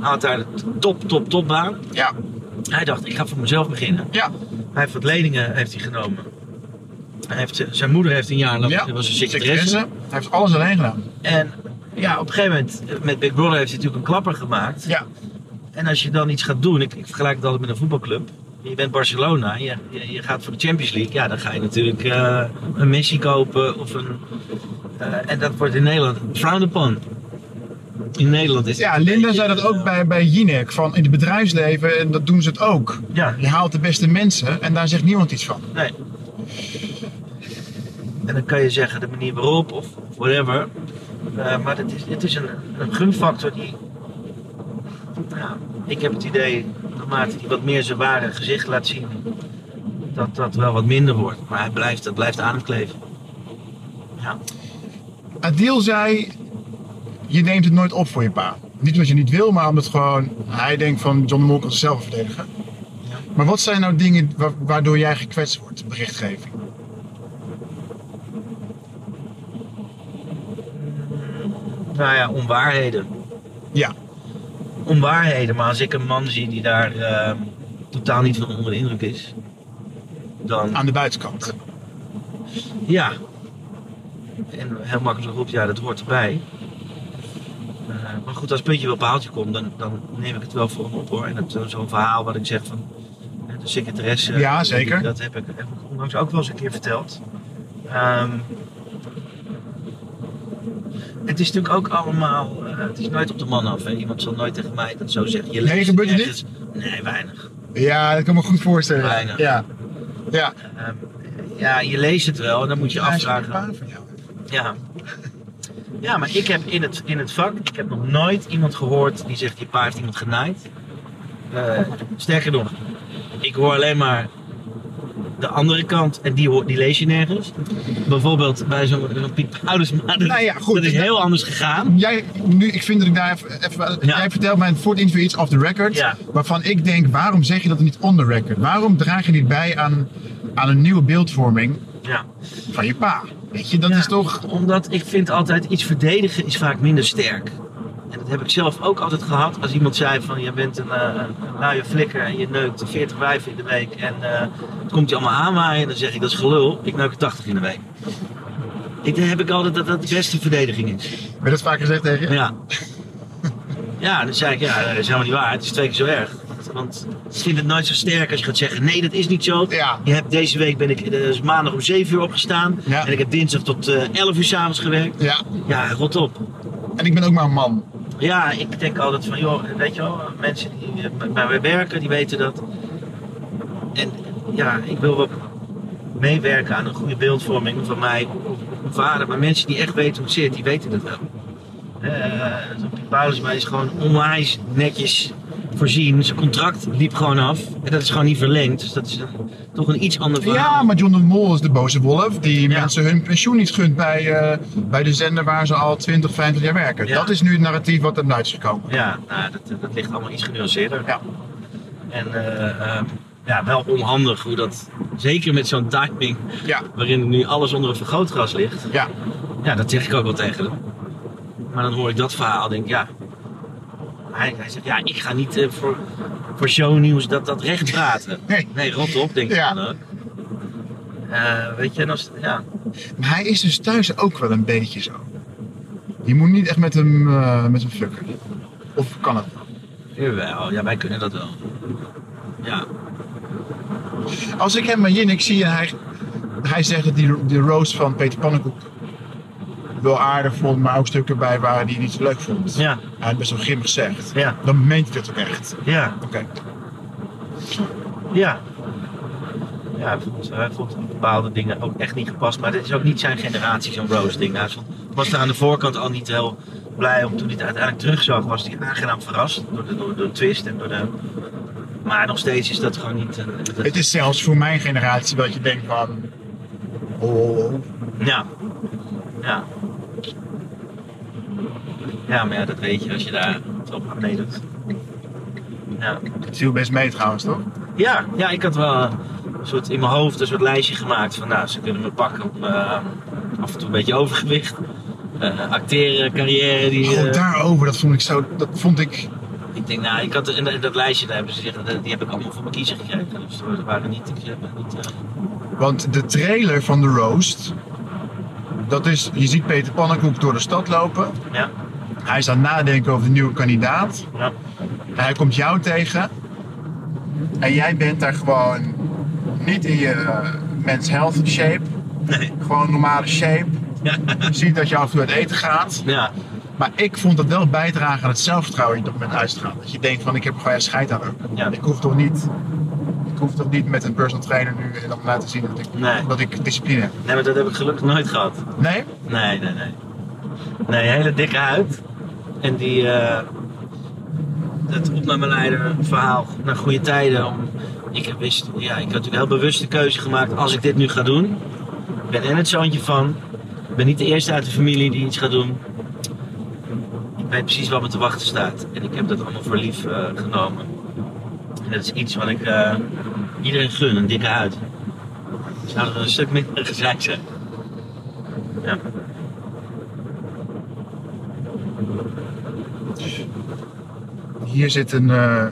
C: Had daar de top, top, topbaan.
B: Ja,
C: Hij dacht, ik ga voor mezelf beginnen.
B: ja.
C: Hij heeft wat leningen heeft hij genomen. Hij heeft, zijn moeder heeft een jaar lang,
B: ja.
C: was een
B: Secretaresse.
C: secretaresse.
B: Hij heeft alles alleen gedaan.
C: En ja, op een gegeven moment, eh, met Big Brother heeft hij natuurlijk een klapper gemaakt.
B: Ja.
C: En als je dan iets gaat doen, ik, ik vergelijk het altijd met een voetbalclub. Je bent Barcelona, je, je, je gaat voor de Champions League. Ja, dan ga je natuurlijk eh, een Messi kopen of een... eh, en dat wordt in Nederland frowned upon. In Nederland is
B: Ja,
C: het een
B: Linda
C: beetje,
B: zei dat ook
C: eh,
B: bij, bij Jinek. Van in het bedrijfsleven, en dat doen ze het ook.
C: Ja,
B: Je haalt de beste mensen en daar zegt niemand iets van.
C: nee. En dan kan je zeggen de manier waarop of whatever. Eh, maar het is, het is een, een gunfactor die... Ja, ik heb het idee, naarmate hij wat meer zijn ware gezicht laat zien... dat dat wel wat minder wordt. Maar hij blijft, dat blijft aan hem kleven. Ja.
B: Adil zei, je neemt het nooit op voor je pa. Niet omdat je niet wil, maar omdat gewoon hij denkt van John de Mol kan zichzelf verdedigen.
C: Ja.
B: Maar wat zijn nou dingen wa- waardoor jij gekwetst wordt, berichtgeving?
C: Nou ja, onwaarheden.
B: Ja.
C: Onwaarheden, maar als ik een man zie die daar eh, totaal niet van onder de indruk is... dan
B: Aan de buitenkant.
C: Ja. En heel makkelijk roept, ja, dat hoort erbij. Eh, maar goed, als het puntje wel op paaltje komt, dan, dan neem ik het wel voor hem op hoor. En dat is zo'n verhaal wat ik zeg van eh, de secretaresse.
B: Ja,
C: die-
B: zeker.
C: Dat heb ik, heb ik onlangs ook wel eens een keer verteld. Ehm, het is natuurlijk ook allemaal, eh, het is nooit op de man af. Hè. Iemand zal nooit tegen mij dat zo zeggen. Je
B: Nee,
C: leest
B: gebeurt het niet?
C: ergens- Nee, weinig.
B: Ja, dat kan ik me goed voorstellen.
C: Weinig.
B: Ja. Ja.
C: Ehm, ja, je leest het wel en dan moet je
B: Hij is een
C: afvragen.
B: pa van jou.
C: Ja. Ja, maar ik heb in het, in het vak, ik heb nog nooit iemand gehoord die zegt, je pa heeft iemand genaaid. Eh, sterker nog, ik hoor alleen maar de andere kant en die, hoor, die lees je nergens. Bijvoorbeeld bij zo'n zo'n Piet Paulusma, dat,
B: Nou ja, goed,
C: dat is
B: dus
C: heel anders gegaan.
B: Jij, nu, ik vind dat ik daar even, even-
C: Ja.
B: jij vertelt mij voor het interview iets off the record,
C: Ja.
B: waarvan ik denk, waarom zeg je dat niet on the record? Waarom draag je niet bij aan, aan een nieuwe beeldvorming
C: Ja.
B: van je pa? Weet je, dat
C: Ja,
B: is toch...
C: Omdat ik vind altijd iets verdedigen is vaak minder sterk. En dat heb ik zelf ook altijd gehad. Als iemand zei van je bent een, eh, een luie flikker en je neukt 40 wijven in de week en eh, het komt je allemaal aanwaaien, dan zeg ik dat is gelul. Ik neuk er 80 in de week. Ik, dan heb ik altijd dat dat de beste verdediging is.
B: Werd dat vaak gezegd tegen je?
C: Ja. Ja, dan zei ik, ja, dat is helemaal niet waar. Het is twee keer zo erg. Want- Want ik vind het nooit zo sterk als je gaat zeggen, nee, dat is niet zo.
B: Ja.
C: Je hebt deze week ben ik eh, dus maandag om 7 uur opgestaan.
B: Ja.
C: En ik heb dinsdag tot eh 11 uur s'avonds gewerkt.
B: Ja,
C: Ja, rot op.
B: en ik ben ook maar een man.
C: Ja, ik denk altijd van, joh, weet je wel, mensen die eh, bij- bij mij werken, die weten dat. En ja, ik wil wel meewerken aan een goede beeldvorming van mij, of mijn vader. Maar mensen die echt weten hoe het zit, die weten dat wel. Eh, Zo'n Piet Paulusma is gewoon onwijs netjes voorzien. Zijn contract liep gewoon af. En dat is gewoon niet verlengd. Dus dat is een- toch een iets ander verhaal.
B: Ja, maar John de Mol is de boze wolf die
C: Ja.
B: mensen hun pensioen niet gunt bij, eh, bij de zender waar ze al 20, 25 jaar werken.
C: Ja.
B: Dat is nu het narratief wat er uit is gekomen.
C: Ja, nou, dat, dat ligt allemaal iets genuanceerder.
B: Ja.
C: En eh, eh, ja, wel onhandig hoe dat, zeker met zo'n timing,
B: Ja,
C: waarin nu alles onder een vergrootglas ligt.
B: ja.
C: Ja, dat zeg ik ook wel tegen hem. Maar dan hoor ik dat verhaal, denk ik, ja. Hij, hij zegt, ja, ik ga niet eh, voor, voor shownieuws dat, dat recht praten.
B: Nee.
C: rot op, denk ik
B: Ja.
C: dan ook. Eh, weet je, en als, ja.
B: Maar hij is dus thuis ook wel een beetje zo. Je moet niet echt met hem, eh met hem fucken. Of kan het?
C: Jawel, ja, wij kunnen dat wel. Ja,
B: Als ik hem en Jinnik zie en hij, hij zegt dat die, die roast van Peter Pannenkoek wel aardig vond, maar ook stukken bij waren die hij niet zo leuk vond.
C: ja,
B: Hij het best wel grimmig zegt.
C: Ja.
B: Dan meent hij dat ook echt.
C: ja.
B: Oké.
C: Ja. Ja, hij vond, hij vond bepaalde dingen ook echt niet gepast. Maar dit is ook niet zijn generatie, zo'n roasting. Hij vond- was er aan de voorkant al niet heel blij om. Toen hij het uiteindelijk terugzag, was hij aangenaam verrast door de, door, door de twist. En door de... Maar nog steeds is dat gewoon niet... een- dat-
B: Het is zelfs voor mijn generatie dat je denkt van. Oh,
C: Ja. Ja. Ja, maar ja, dat weet je als je daar zo op meedoet. Ja.
B: Het viel best mee trouwens, toch?
C: Ja, ja, ik had wel een soort, in mijn hoofd een soort lijstje gemaakt van nou, ze kunnen me pakken op eh, af en toe een beetje overgewicht. Eh, acteren, carrière, die...
B: Oh,
C: eh,
B: daarover, dat vond ik zo. Dat vond ik.
C: ik denk, nou, ik had in, in dat lijstje, daar hebben ze zich, die heb ik allemaal voor mijn kiezer gekregen. Dus er waren niet... Ik, heb niet eh,
B: Want de trailer van The Roast. Dat is, je ziet Peter Pannenkoek door de stad lopen.
C: ja,
B: Hij is aan het nadenken over de nieuwe kandidaat.
C: ja,
B: Hij komt jou tegen. En jij bent daar gewoon niet in je eh, mens health shape.
C: nee,
B: Gewoon normale shape. Je ziet dat je af en toe uit eten gaat.
C: ja.
B: Maar ik vond dat wel bijdragen aan het zelfvertrouwen dat je op het moment uitstraalt. Dat je denkt van ik heb er gewoon echt scheid aan. ook.
C: Ja.
B: Ik hoef toch niet... Ik hoef toch niet met een personal trainer nu en dan laten zien dat ik,
C: Nee.
B: dat ik discipline heb.
C: Nee, maar dat heb ik gelukkig nooit gehad.
B: Nee?
C: Nee, nee, nee. Nee, hele dikke huid. En die. eh het opnameleider verhaal naar goede tijden. Om, ik, wist, ja, ik had natuurlijk heel bewust de keuze gemaakt. Als ik dit nu ga doen. Ik ben en het zoontje van. Ik ben niet de eerste uit de familie die iets gaat doen. Ik weet precies wat me te wachten staat. En ik heb dat allemaal voor lief eh, genomen. En dat is iets wat ik eh, iedereen gun, een dikke huid. Zou er een stuk minder gezeik zijn. Ja.
B: Hier zit een, eh,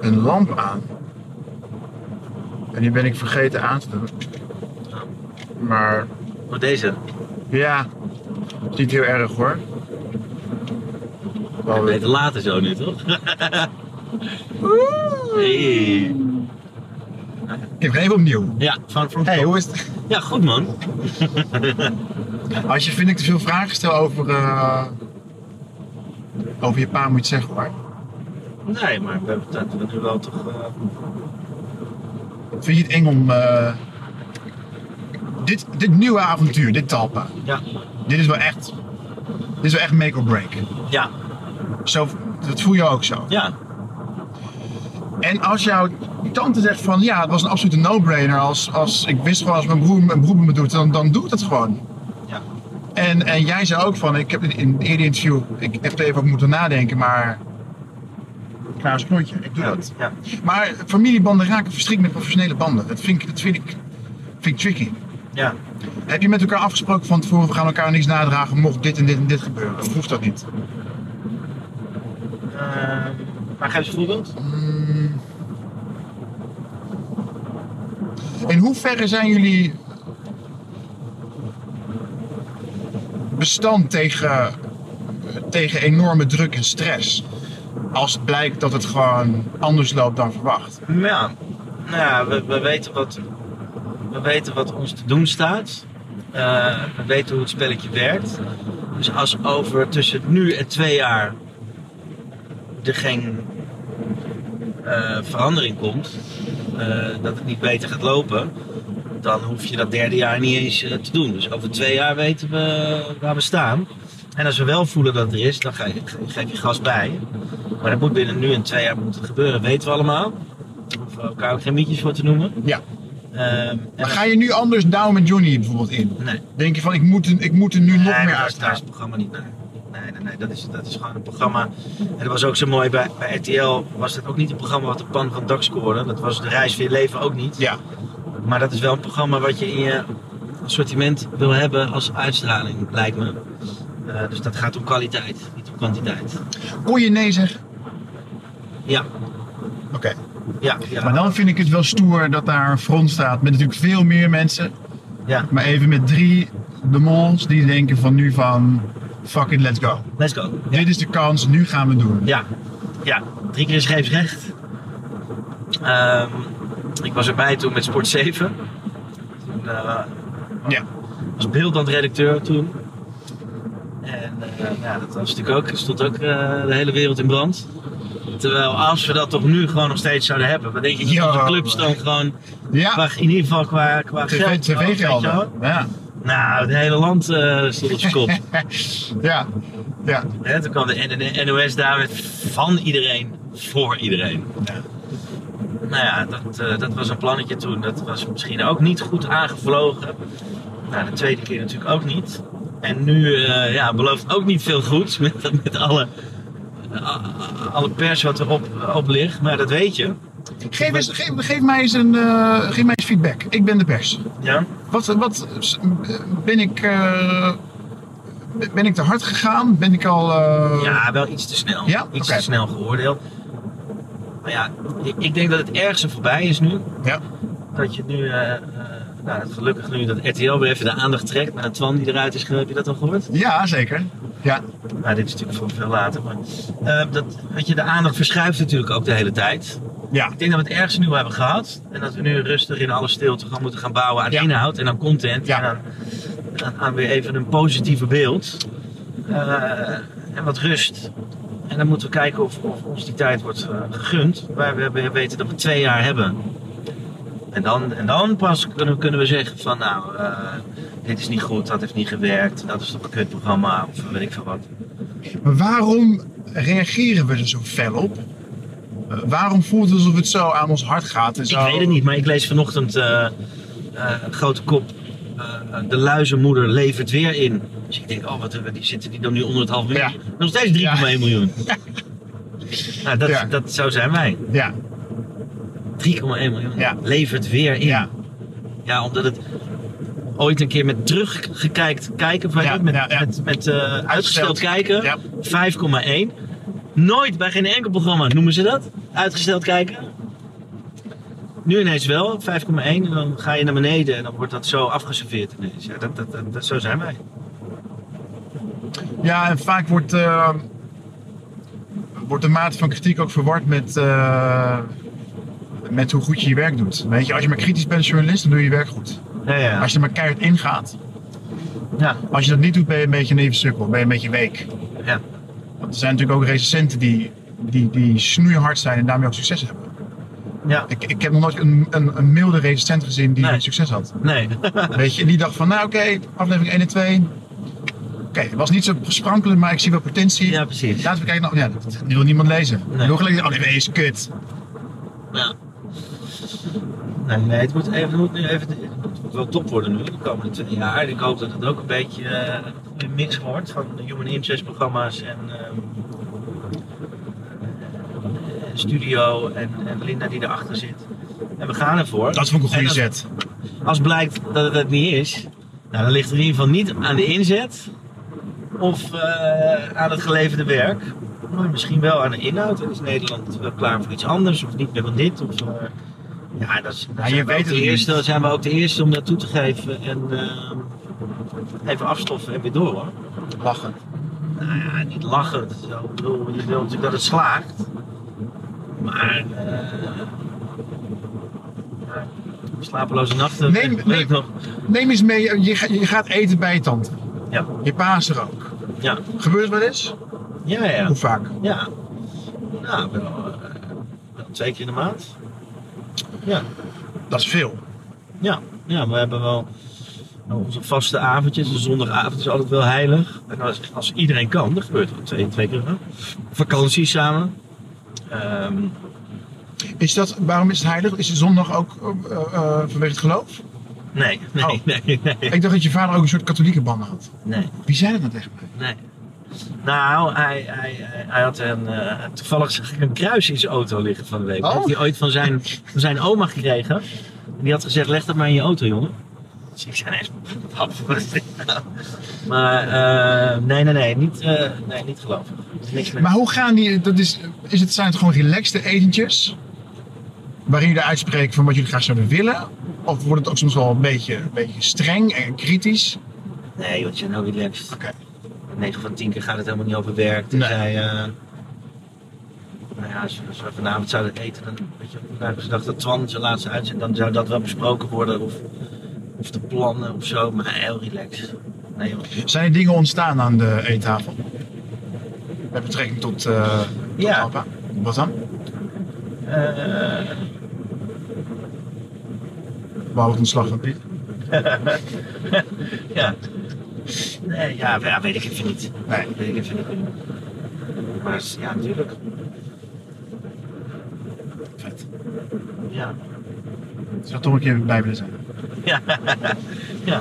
B: een lamp aan. En die ben ik vergeten aan te doen. Maar
C: Oh, deze.
B: ja, het is niet heel erg hoor. Wel weer-
C: Beter later zo nu, toch? Hey.
B: Ik geef opnieuw.
C: Ja, van van.
B: Hey, hoe is het?
C: Ja, goed man.
B: Als je vind ik te veel vragen stel over, eh, over je pa moet je het zeggen hoor.
C: Nee, maar we hebben dat we nu wel toch. eh,
B: Vind je het eng om eh, dit, dit nieuwe avontuur, dit talpa,
C: ja.
B: dit is wel echt, dit is wel echt make or break.
C: Ja,
B: Zo, dat voel je ook zo.
C: ja.
B: En als jouw tante zegt van ja, het was een absolute no-brainer. Als, als ik wist gewoon als mijn broer mijn broer me doet, dan, dan doe ik dat gewoon.
C: Ja.
B: En, en jij zei ook van, ik heb in een eerder interview, ik heb er even over moeten nadenken, maar klaar is het knontje, ik doe
C: Ja.
B: dat.
C: ja.
B: Maar familiebanden raken verstrikt met professionele banden. Dat vind ik, dat vind ik, vind ik tricky.
C: ja.
B: Heb je met elkaar afgesproken van tevoren, we gaan elkaar niks nadragen mocht dit en dit en dit gebeuren? Of hoeft dat niet?
C: Eh, maar geef eens een voorbeeld.
B: Mm. In hoeverre zijn jullie bestand tegen, tegen enorme druk en stress? Als het blijkt dat het gewoon anders loopt dan verwacht.
C: Ja, nou ja, we, we, weten wat, we weten wat ons te doen staat. Eh, we weten hoe het spelletje werkt. Dus als over tussen nu en twee jaar er geen eh, verandering komt, eh, dat het niet beter gaat lopen, dan hoef je dat derde jaar niet eens eh, te doen. Dus over twee jaar weten we eh, waar we staan. En als we wel voelen dat het er is, dan ga je, geef je gas bij. Maar dat moet binnen nu en twee jaar moeten gebeuren, weten we allemaal. We hoeven elkaar ook geen mietjes voor te noemen.
B: Ja.
C: Ehm, en
B: Maar ga je nu anders down met Johnny bijvoorbeeld in?
C: Nee.
B: Denk je van ik moet, er- ik moet er nu nog
C: nee,
B: meer
C: maar daar is- daar
B: uit?
C: is het programma niet naar. Nee, nee, nee, dat is, dat is gewoon een programma. En dat was ook zo mooi bij, bij RTL. Was dat ook niet een programma wat de pan van het dak scoorde? Dat was de reis van je leven ook niet.
B: Ja.
C: Maar dat is wel een programma wat je in je assortiment wil hebben als uitstraling, lijkt me. Eh, dus dat gaat om kwaliteit, niet om kwantiteit.
B: Kon je nee zeggen?
C: Ja,
B: Oké.
C: ja, ja.
B: Maar dan vind ik het wel stoer dat daar een front staat met natuurlijk veel meer mensen.
C: ja.
B: Maar even met drie de mols die denken van nu van fuck it, let's go.
C: Let's go.
B: Dit is de kans, nu gaan we het doen.
C: Ja, ja. drie keer is scheepsrecht. Ehm, ik was erbij toen met Sport 7. Toen, eh,
B: Ja.
C: was beeldend redacteur toen. En eh, ja, dat was natuurlijk ook, stond ook eh, de hele wereld in brand. Terwijl als we dat toch nu gewoon nog steeds zouden hebben, dan denk ik dat
B: Ja.
C: onze clubs dan gewoon,
B: Ja,
C: qua, in ieder geval qua, qua
B: tv,
C: geld, oh, weet je wel.
B: tv-gelden. Ja.
C: Nou, het hele land eh stond op zijn kop.
B: ja, ja.
C: Hè, toen kwam de N- N- NOS daar met van iedereen voor iedereen. Nou ja, dat, eh, dat was een plannetje toen. Dat was misschien ook niet goed aangevlogen. Nou, de tweede keer natuurlijk ook niet. En nu eh, ja, belooft ook niet veel goeds met, met alle, eh, a- alle pers wat erop eh, op ligt. Maar dat weet je.
B: Geef, eens, geef, geef mij eens een, eh, geef mij eens feedback. Ik ben de pers.
C: Ja.
B: Wat, wat s- ben ik. eh, ben ik te hard gegaan? Ben ik al. eh,
C: Ja, wel iets te snel.
B: Ja?
C: Iets
B: Oké.
C: te snel geoordeeld. Maar ja, ik, ik denk dat het ergens aan voorbij is nu.
B: Ja.
C: Dat je nu, eh, eh, nou, dat gelukkig nu dat RTL weer even de aandacht trekt met een Twan die eruit is, ge- heb je dat al gehoord?
B: Ja, zeker. Ja.
C: Nou, dit is natuurlijk voor veel later. Maar, eh, dat, weet je, de aandacht verschuift natuurlijk ook de hele tijd.
B: Ja.
C: Ik denk dat we het ergens nu hebben gehad. En dat we nu rustig in alle stilte gaan moeten gaan bouwen aan
B: Ja.
C: inhoud en aan content.
B: Ja.
C: En aan, aan, aan weer even een positieve beeld. Eh, en wat rust. En dan moeten we kijken of, of ons die tijd wordt eh, gegund. Waar we hebben- weten dat we twee jaar hebben. En dan, en dan pas kunnen, we- kunnen we zeggen van nou, eh, dit is niet goed, dat heeft niet gewerkt. Dat is toch een kutprogramma of weet ik veel wat.
B: Maar waarom reageren we er zo fel op? Eh, waarom voelt het alsof het zo aan ons hart gaat? En zo...
C: Dus Ik weet het niet, maar ik lees vanochtend eh, eh, een grote kop. eh, de luizenmoeder levert weer in. Dus ik denk, oh, wat die zitten die dan nu onder het half miljoen?
B: Ja.
C: Nog steeds 3,1 miljoen. Nou, dat,
B: Ja.
C: dat zo zijn wij. 3,1
B: Ja,
C: miljoen
B: Ja.
C: levert weer in.
B: ja,
C: Ja, omdat het ooit een keer met teruggekijkt kijken, of weet
B: Ja,
C: je, met,
B: ja, ja.
C: met, met eh, uitgesteld kijken,
B: Ja.
C: 5,1. Nooit bij geen enkel programma noemen ze dat, uitgesteld kijken. Nu ineens wel, 5,1 en dan ga je naar beneden en dan wordt dat zo afgeserveerd ineens. Ja, dat, dat, dat, dat- zo zijn wij.
B: ja, en vaak wordt, eh, wordt de mate van kritiek ook verward met, eh, met hoe goed je je werk doet. Weet je, als je maar kritisch bent als journalist, dan doe je je werk goed.
C: Ja, ja.
B: Als je er maar keihard ingaat,
C: ja,
B: als je dat niet doet, ben je een beetje een even sukkel, ben je een beetje week.
C: ja.
B: Want er zijn natuurlijk ook recensenten die, die, die snoeihard zijn en daarmee ook succes hebben.
C: ja.
B: Ik, ik heb nog nooit een, een, een milde recensent gezien die
C: Nee.
B: succes had.
C: Nee.
B: Weet je, en die dacht van, nou oké, aflevering 1 en 2. Oké, het was niet zo sprankelend, maar ik zie wel potentie.
C: ja, precies.
B: Laten we kijken, nou, ja, dat wil niemand lezen.
C: Nee.
B: Nee. Nog alleen, oh nee, is kut.
C: Ja. Nee, nee, het moet, even, het moet nu even, het moet wel top worden nu de komende twee jaar. En ik hoop dat het ook een beetje eh, een goede mix wordt van human interest programma's en ehm, eh, studio en, en Linda die erachter zit. En we gaan ervoor.
B: Dat vond ik een goede
C: En als-
B: zet.
C: Als blijkt dat het het niet is, nou, dan ligt het in ieder geval niet aan de inzet of eh, aan het geleverde werk. Maar misschien wel aan de inhoud. En Is Nederland wel klaar voor iets anders of niet meer van dit? Of, eh, ja, dat is,
B: je
C: je
B: weet
C: weet
B: het
C: de
B: niet.
C: eerste, dan zijn we ook de eerste om dat toe te geven. En eh, even afstoffen en weer door hoor.
B: Lachen.
C: Nou ja, niet lachen. het is wel- ik bedoel, je wil natuurlijk dat het slaagt. Maar. eh, slapeloze nachten.
B: Neem-
C: weet ik
B: neem-
C: nog.
B: Neem eens mee, je, ga- je gaat eten bij je tante.
C: Ja.
B: Je pa is er ook.
C: Ja,
B: Gebeurt het wel eens?
C: ja, ja.
B: Hoe vaak?
C: ja. Nou, wel, eh, wel twee keer in de maand. Ja,
B: Dat is veel.
C: ja, ja, we hebben wel nou, onze vaste avondjes. De zondagavond is altijd wel heilig. En als, als iedereen kan, dan gebeurt er twee, twee keer. Hè? Vakanties samen. Ehm,
B: Is dat, waarom is het heilig? Is de zondag ook eh, eh, vanwege het geloof?
C: nee, nee,
B: Oh.
C: nee, nee,
B: Ik dacht dat je vader ook een soort katholieke banden had.
C: nee.
B: Wie zei dat nou tegen mij?
C: Nee. Nou, hij, hij, hij- hij had een. eh, toevallig zag ik een kruis in zijn auto liggen van de week.
B: Oh.
C: Had hij ooit van zijn, van zijn oma gekregen. En die had gezegd: leg dat maar in je auto, jongen. Dus ik zei: nee, pap, wat is dit nou? Maar eh, nee, nee, nee, niet, eh nee, niet geloven. Er is Niks meer.
B: Maar hoe gaan die, dat is, is het, zijn het gewoon relaxte etentjes? Waarin jullie uitspreken van wat jullie graag zouden willen? Of wordt het ook soms wel een beetje, een beetje streng en kritisch?
C: Nee, want je bent heel relaxed.
B: Oké.
C: 9 van 10 keer gaat het helemaal niet over werk. Tenzij, eh nou ja, als we, als we vanavond zouden eten, dan weet je, vandaag is de dag dat Twan zijn laatste uitzet, dan zou dat wel besproken worden. Of, of de plannen of zo, maar heel relaxed. Nee, joh.
B: Zijn er dingen ontstaan aan de eettafel? Met betrekking tot, eh tot
C: Ja.
B: papa? Wat dan?
C: Eh,
B: Wou het ontslag van Piet?
C: ja. Nee, ja, we- ja, weet ik even niet.
B: Nee.
C: Weet ik even niet. Maar s- ja, natuurlijk.
B: Vet.
C: Ja.
B: Ik zou toch een keer bij willen zijn.
C: Ja. ja.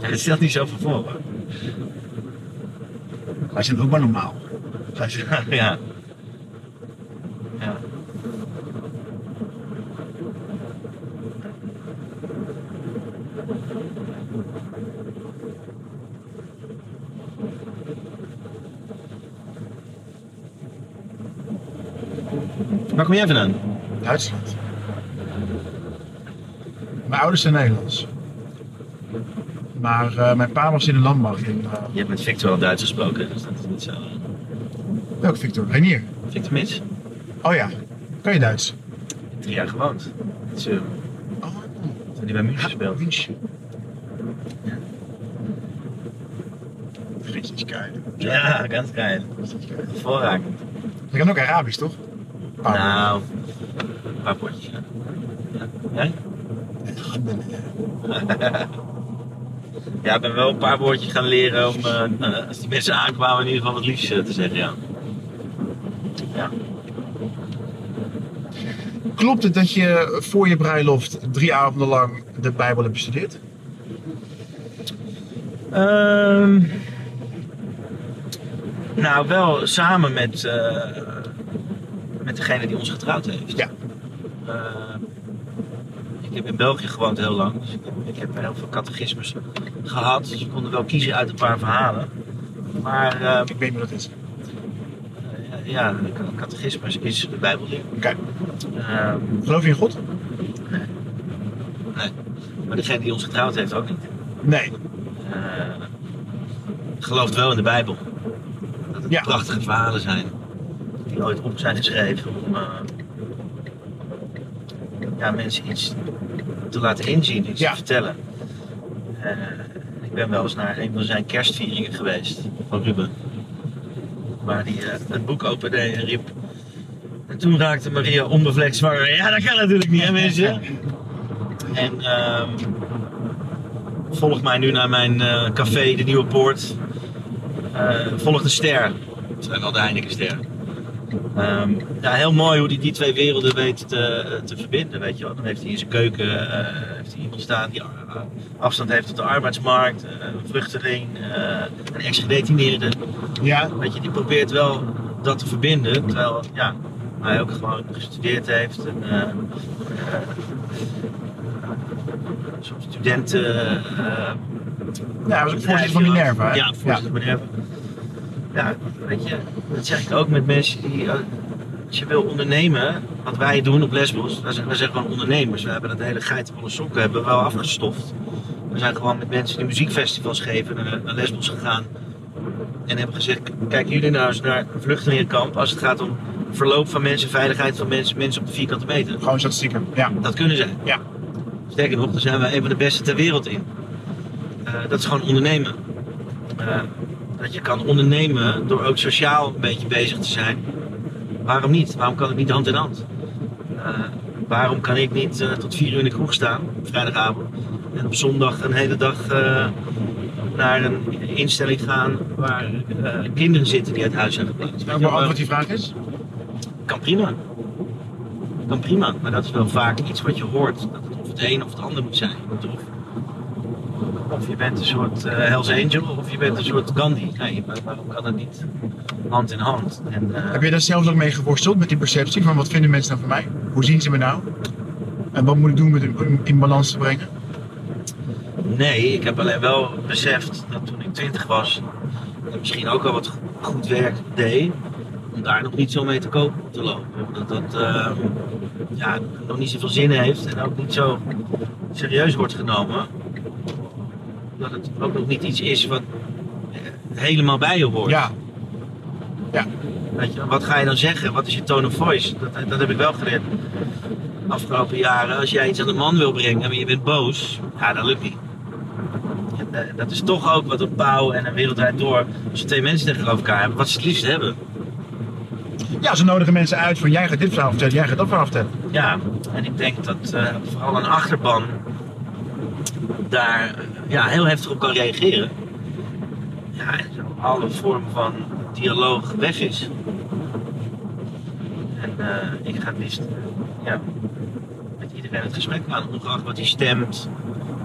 C: Het stelt niet zoveel voor. hoor. Wij zijn ook maar normaal. Wij zijn- ja. ja. Waar kom jij vandaan?
B: Duitsland. Mijn ouders zijn Nederlands. Maar eh, mijn pa was in de landbouw. In, eh,
C: Je hebt met Victor al Duits gesproken, dus dat is niet zo.
B: welke Victor? Reinier.
C: Victor Mits?
B: Oh ja, kan je Duits?
C: Drie jaar gewoond. Dat is, eh,
B: Oh, Ah,
C: Toen hij bij München speelde.
B: München. Richtig geil.
C: Ja, ganz geil.
B: Richtig geil.
C: Hervorragend.
B: Je kan ook Arabisch, toch? Paul.
C: Nou, een paar potjes. Ja. Ja. Jij? Ja, ik ben wel een paar woordjes gaan leren om, eh, nou, als die mensen aankwamen, in ieder geval wat liefst eh, te zeggen. Ja. ja.
B: Klopt het dat je voor je bruiloft drie avonden lang de Bijbel hebt bestudeerd?
C: Ehm, nou, wel samen met, eh, met degene die ons getrouwd heeft.
B: Ja.
C: Eh, ik heb in België gewoond heel lang, dus ik heb, ik heb heel veel catechismes gehad. Dus we konden wel kiezen uit een paar verhalen. Maar ehm,
B: Ik weet niet wat dat is.
C: eh, ja, een catechismus is de Bijbelleer.
B: Oké.
C: Ehm,
B: Geloof je in God?
C: maar degene die ons getrouwd heeft ook niet.
B: Nee.
C: eh, gelooft wel in de Bijbel. Dat het
B: Ja.
C: prachtige verhalen zijn die ooit op zijn geschreven om eh, ja, mensen iets te laten inzien, iets
B: Ja.
C: te vertellen. Eh, ik ben wel eens naar een van zijn kerstvieringen geweest van Ruben. Waar hij eh, het boek opende en riep. En toen raakte Maria onbevlekt zwanger. Ja, dat kan natuurlijk niet, hè mensen? En ehm, volg mij nu naar mijn eh, café, de Nieuwe Poort. Eh, volg de ster. Dat zijn wel de Heinekenster. Ehm ja, heel mooi hoe hij die twee werelden weet te, te verbinden. Weet je wel. Dan heeft hij in zijn keuken eh, heeft hij iemand staan die eh, afstand heeft tot de arbeidsmarkt, eh, een vluchteling, eh, een ex-gedetineerde.
B: Ja.
C: Weet je, die probeert wel dat te verbinden, terwijl ja, hij ook gewoon gestudeerd heeft. En, eh, eh, soms studenten. eh,
B: Ja, hij was ook voorzitter van Minerva. hè?
C: ja, voorzitter van Minerva. Ja, weet je, dat zeg ik ook met mensen die. eh, Als je wil ondernemen, wat wij doen op Lesbos, wij zijn, wij zijn gewoon ondernemers. We hebben dat hele geitenwolle sokken hebben we wel afgestoft. We zijn gewoon met mensen die muziekfestivals geven naar, naar Lesbos gegaan. En hebben gezegd, kijken jullie nou eens naar een vluchtelingenkamp als het gaat om verloop van mensen, veiligheid van mensen, mensen op de vierkante meter.
B: Gewoon statistieken. Ja.
C: Dat kunnen zij.
B: Ja.
C: Sterker nog, daar zijn we een van de beste ter wereld in. Eh, dat is gewoon ondernemen. Eh, dat je kan ondernemen door ook sociaal een beetje bezig te zijn. Waarom niet? Waarom kan het niet hand in hand? Eh, waarom kan ik niet eh, tot vier uur in de kroeg staan, op vrijdagavond, en op zondag een hele dag eh, naar een instelling gaan waar eh, kinderen zitten die uit huis zijn geplaatst? Weet
B: Ook
C: je wel,
B: beantwoord die vraag is?
C: kan prima. Kan prima, maar dat is wel vaak iets wat je hoort. Dat het of het een of het ander moet zijn. Want Of, of je bent een soort eh, Hells Angel of je bent een soort Gandhi. Nee, maar waarom kan dat niet hand in hand? En, eh,
B: Heb je daar zelfs ook mee geworsteld met die perceptie van wat vinden mensen nou van mij? Hoe zien ze me nou? En wat moet ik doen met hun- om in balans te brengen?
C: Nee, ik heb alleen wel beseft dat toen ik 20 was en misschien ook al wat go- goed werk deed, om daar nog niet zo mee te koop te lopen. Omdat dat eh, ja, nog niet zoveel zin heeft en ook niet zo serieus wordt genomen. Dat het ook nog niet iets is wat eh, helemaal bij je hoort.
B: Ja.
C: Weet je, wat ga je dan zeggen? Wat is je tone of voice? Dat, dat heb ik wel geleerd de afgelopen jaren. Als jij iets aan de man wil brengen, maar je bent boos, ja, dat lukt niet. En, eh, Dat is toch ook wat een pauw en een wereldwijd door. Als je twee mensen tegenover elkaar hebben, wat ze het liefst hebben.
B: Ja, ze nodigen mensen uit van jij gaat dit verhaal vertellen, jij gaat dat verhaal vertellen.
C: Ja, en ik denk dat eh, vooral een achterban daar eh, ja, heel heftig op kan reageren. Ja, en zo alle vorm van dialoog weg is. En eh, ik ga het liefst eh, ja, met iedereen het gesprek aan, ongeacht wat hij stemt,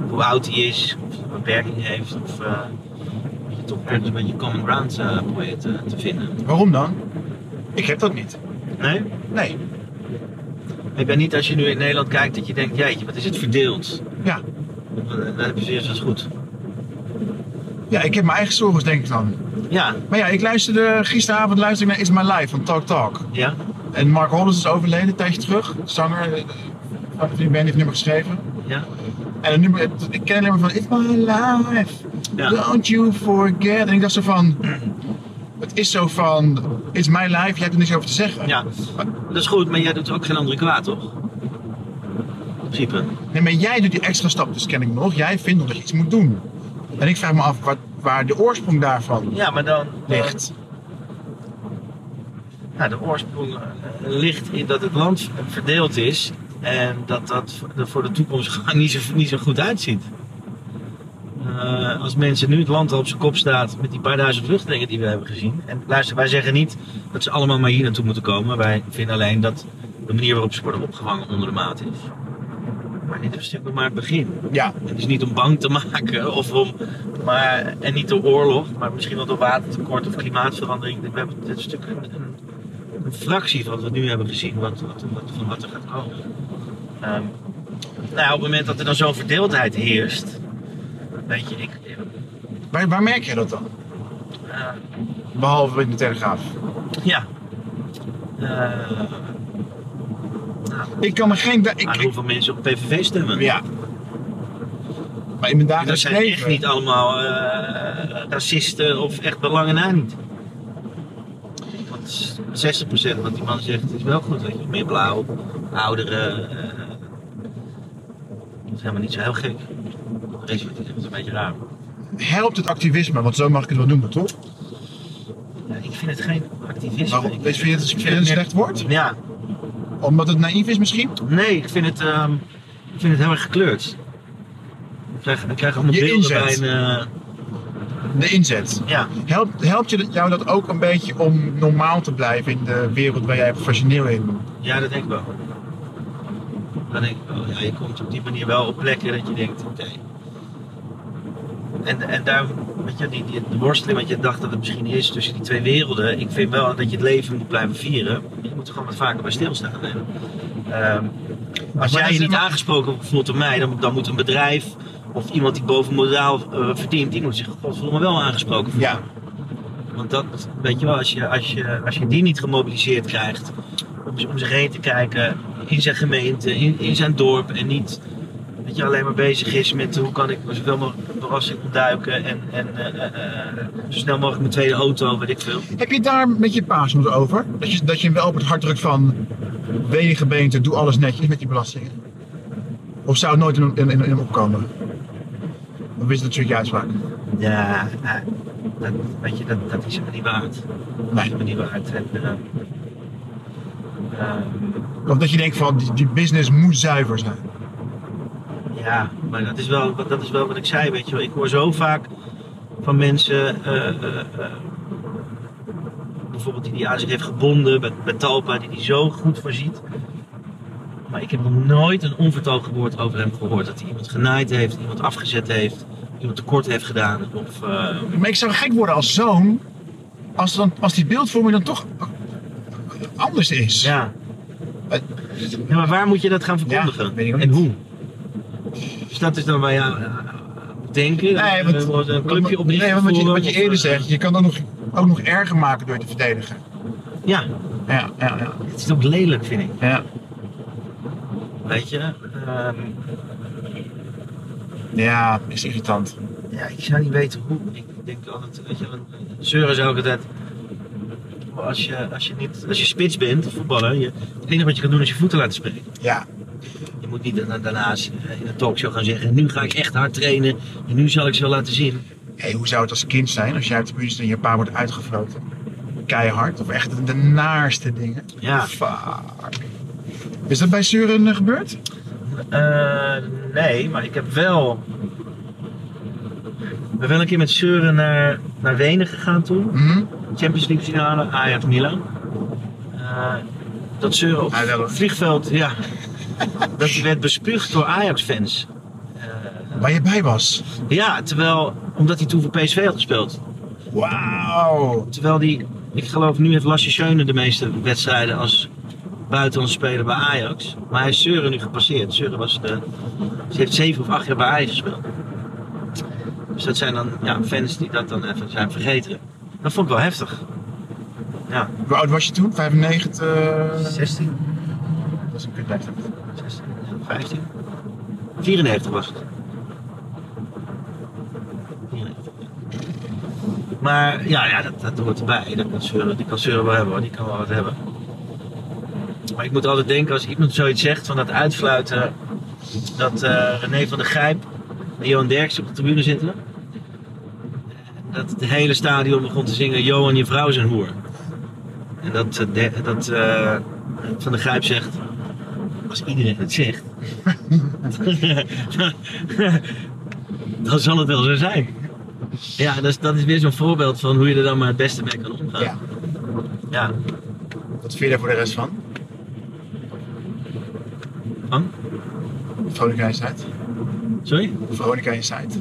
C: hoe oud hij is, of hij een beperking heeft. Of eh, dat je toch kunt een beetje common ground eh proberen te, te vinden.
B: Waarom dan? Ik heb dat niet.
C: Nee?
B: Nee.
C: Ik ben niet als je nu in Nederland kijkt dat je denkt, jeetje, wat is het verdeeld?
B: Ja.
C: Dat heb je zoiets als goed.
B: Ja, ik heb mijn eigen zorgen, denk ik dan.
C: Ja,
B: Maar ja, ik luisterde gisteravond luisterde ik naar Is My Life van Talk Talk.
C: ja.
B: En Mark Hollis is overleden een tijdje terug. Zanger, eh, van die band heeft nummer geschreven.
C: Ja.
B: En het nummer, het- ik ken alleen maar van It's My Life,
C: Ja.
B: don't you forget. En ik dacht zo van, het is zo van, It's My Life, jij hebt er niks over te zeggen.
C: Ja, dat is goed, maar jij doet ook geen andere kwaad, toch? In principe.
B: Nee, maar jij doet die extra stap, dus ken ik nog. Jij vindt nog dat je iets moet doen. En ik vraag me af wat, waar de oorsprong daarvan
C: Ja, maar dan
B: ligt.
C: Nou, de oorsprong eh, ligt in dat het land verdeeld is en dat dat er voor de toekomst gewoon niet zo, niet zo goed uitziet. Eh, als mensen nu het land al op zijn kop staat met die paar duizend vluchtelingen die we hebben gezien. En luister, wij zeggen niet dat ze allemaal maar hier naartoe moeten komen. Wij vinden alleen dat de manier waarop ze worden opgevangen onder de maat is. Maar dit is natuurlijk maar het begin.
B: Ja,
C: Het is niet om bang te maken of om, maar, en niet door oorlog, maar misschien wel door watertekort of klimaatverandering. We hebben dit stuk een, een, een fractie van wat we nu hebben gezien, wat, wat, wat- van wat er gaat komen. Ehm, nou, ja, op het moment dat er dan zo'n verdeeldheid heerst, weet je, ik,
B: waar, waar merk je dat dan?
C: eh,
B: Behalve in de Telegraaf.
C: ja. Eh,
B: Ik kan me geen... da- Ik,
C: aan
B: ik-
C: hoeveel mensen op PVV stemmen.
B: ja. Maar in mijn
C: Dat
B: dagelijks
C: zijn echt
B: leven...
C: niet allemaal eh, racisten of echt belangen na niet. Want 60% wat die man zegt is wel goed. Weet je, meer blauw, ouderen. eh, dat is helemaal niet zo heel gek. De rest wordt het echt een beetje raar.
B: helpt het activisme, want zo mag ik het wel noemen, toch?
C: Ja, ik vind het geen activisme.
B: Waarom?
C: Ik-
B: Vind je het- vind je het een slecht woord?
C: Ja,
B: Omdat het naïef is misschien?
C: nee, ik vind het, ehm, ik vind het heel erg gekleurd. Ik krijg, ik krijg allemaal
B: Je
C: beelden
B: inzet.
C: bij een... eh,
B: De inzet.
C: ja,
B: Helpt, helpt je, jou dat ook een beetje om normaal te blijven in de wereld waar jij professioneel in bent?
C: Ja, dat denk ik wel. Dan denk ik, wel, ja, je komt op die manier wel op plekken dat je denkt, oké. En, en daar, weet je, die, die, de worsteling wat je dacht dat het misschien is tussen die twee werelden. Ik vind wel dat je het leven moet blijven vieren. Je moet er gewoon wat vaker bij stilstaan. hè. Ehm, als
B: dat is
C: jij je niet
B: helemaal-
C: aangesproken voelt door mij, dan, dan moet een bedrijf of iemand die boven modaal eh, verdient, die moet zich godverdomme wel aangesproken voelen.
B: Ja.
C: Want dat, weet je wel, als je, als je, als je die niet gemobiliseerd krijgt om, z- om zich heen te kijken in zijn gemeente, in, in zijn dorp en niet dat je alleen maar bezig is met hoe kan ik zoveel mogelijk verrassing ontduiken en, en eh, eh, eh, zo snel mogelijk mijn tweede auto, weet ik veel.
B: Heb je het daar met je pa soms over? Dat je, dat je hem wel op het hart drukt van wegen, beenten, doe alles netjes met die belastingen? Of zou het nooit in, in, in hem opkomen? Dan is het natuurlijk je uitspraak.
C: Ja, eh, dat, weet je, dat, dat is helemaal niet waard. Dat is
B: Nee.
C: helemaal niet waard. En, eh, eh,
B: Of dat je denkt van die, die business moet zuiver zijn.
C: Ja, maar dat is, wel, dat is wel wat ik zei, weet je wel. Ik hoor zo vaak van mensen, eh, eh, eh, bijvoorbeeld die die aan zich heeft gebonden bij, bij Talpa, die die zo goed voorziet. Maar ik heb nog nooit een onvertogen woord over hem gehoord. Dat hij iemand genaaid heeft, iemand afgezet heeft, iemand tekort heeft gedaan. Of, eh,
B: Maar ik zou gek worden als zoon, als, dan, als die beeldvorming dan toch anders is.
C: ja. ja, maar waar moet je dat gaan verkondigen?
B: Ja, weet ik ook
C: en
B: niet.
C: hoe? Dus dat is dan waar jou denken.
B: Nee, want-
C: Eh, een clubje oprichten.
B: Nee, want wat je,
C: voor
B: wat
C: hem,
B: je
C: of,
B: eerder
C: eh,
B: zegt, je kan ook nog, ook nog erger maken door te verdedigen.
C: Ja,
B: Ja, ja, ja.
C: het is ook lelijk, vind ik.
B: ja.
C: Weet je, ehm,
B: Ja, is irritant.
C: ja, ik zou niet weten hoe. Ik denk altijd, weet je, want zeuren is ook altijd. Als je, als je, niet, als je spits bent, voetballer, je, het enige wat je kan doen is je voeten laten spelen.
B: Ja,
C: Je moet niet daarna- daarnaast eh, in een talkshow gaan zeggen, nu ga ik echt hard trainen en nu zal ik ze wel laten zien.
B: hey, hoe zou het als kind zijn als jij op de buurt zit en je pa wordt uitgefroten? Keihard of echt de naarste dingen?
C: Ja.
B: Fuck. Is dat bij Suren eh, gebeurd?
C: Eh, nee, maar ik heb wel. We ben wel een keer met Zeuren naar, naar Wenen gegaan toen.
B: Mhm.
C: Champions League finale, Ajax Milan. Eh, dat zeuren op
B: Ah, wel.
C: het vliegveld, ja. dat hij werd bespuugd door Ajax fans. Eh,
B: Waar je bij was.
C: Ja, terwijl, omdat hij toen voor PSV had gespeeld.
B: Wauw.
C: Terwijl die, ik geloof nu heeft Lasse Schöne de meeste wedstrijden als buitenlandse speler bij Ajax. Maar hij is Seuren nu gepasseerd. Seuren was de, ze heeft zeven of acht jaar bij Ajax gespeeld. Dus dat zijn dan ja, fans die dat dan even zijn vergeten. Dat vond ik wel heftig. Ja,
B: Hoe oud was je toen? 95?
C: 16,
B: Dat is een kutleeftijd.
C: 16 15. 94 was het. 94. Maar ja, ja dat, dat hoort erbij. Dat kan zeuren, die kan zeuren wel hebben hoor. Die kan wel wat hebben. Maar ik moet altijd denken als iemand zoiets zegt van dat uitfluiten. Dat eh, René van der Grijp en Johan Derksen op de tribune zitten. Dat het hele stadion begon te zingen Johan je vrouw is een hoer. En dat, eh, Der- dat eh, Van der Grijp zegt als iedereen het zegt, dan zal het wel zo zijn. Ja, dat is, dat is weer zo'n voorbeeld van hoe je er dan maar het beste mee kan omgaan.
B: Ja.
C: Ja.
B: Wat vind je daar voor de rest van?
C: Van?
B: Veronica Insight.
C: Sorry?
B: Veronica Insight.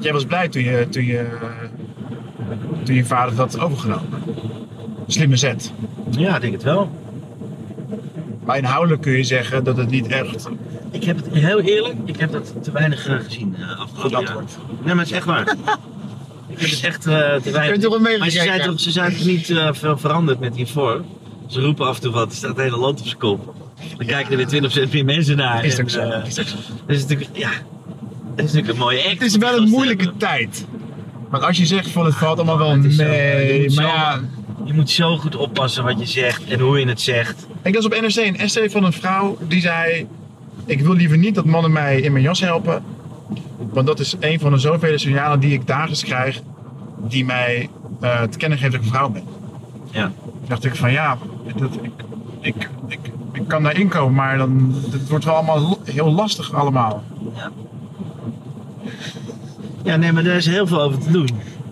B: Jij was blij toen je, toen je, toen je vader dat had overgenomen. Slimme zet.
C: Ja, ik denk het wel.
B: Maar inhoudelijk kun je zeggen dat het niet echt
C: Ik heb het heel eerlijk, ik heb dat te weinig eh, gezien eh
B: goed
C: afgelopen jaar.
B: antwoord.
C: Nee, maar het is echt waar. ik heb het echt eh, te
B: Je
C: weinig.
B: hebt toch wel
C: Maar ze zijn
B: meegekeken?
C: toch, ze zijn toch niet eh, veel veranderd met hiervoor? Ze roepen af en toe wat, er staat het hele land op zijn kop. Dan kijken er weer 20 meer mensen naar.
B: Is het
C: en,
B: ook zo?
C: eh,
B: Is het ook zo?
C: Dat is natuurlijk, ja, dat is natuurlijk een mooie act.
B: Het is wel een moeilijke tijd. Want als je zegt van het valt allemaal wel
C: Het is zo, je
B: mee,
C: moet
B: maar
C: zo-
B: ja,
C: Je moet zo goed oppassen wat je zegt en hoe je het zegt.
B: Ik las op NRC een essay van een vrouw die zei: Ik wil liever niet dat mannen mij in mijn jas helpen. Want dat is een van de zoveel signalen die ik dagelijks krijg, die mij eh, te kennen geeft dat ik een vrouw ben.
C: Ja.
B: Toen dacht ik: van ja, dat, ik, ik, ik, ik kan daar inkomen, maar dan, het wordt wel allemaal lo- heel lastig allemaal.
C: Ja, nee, maar daar is heel veel over te doen.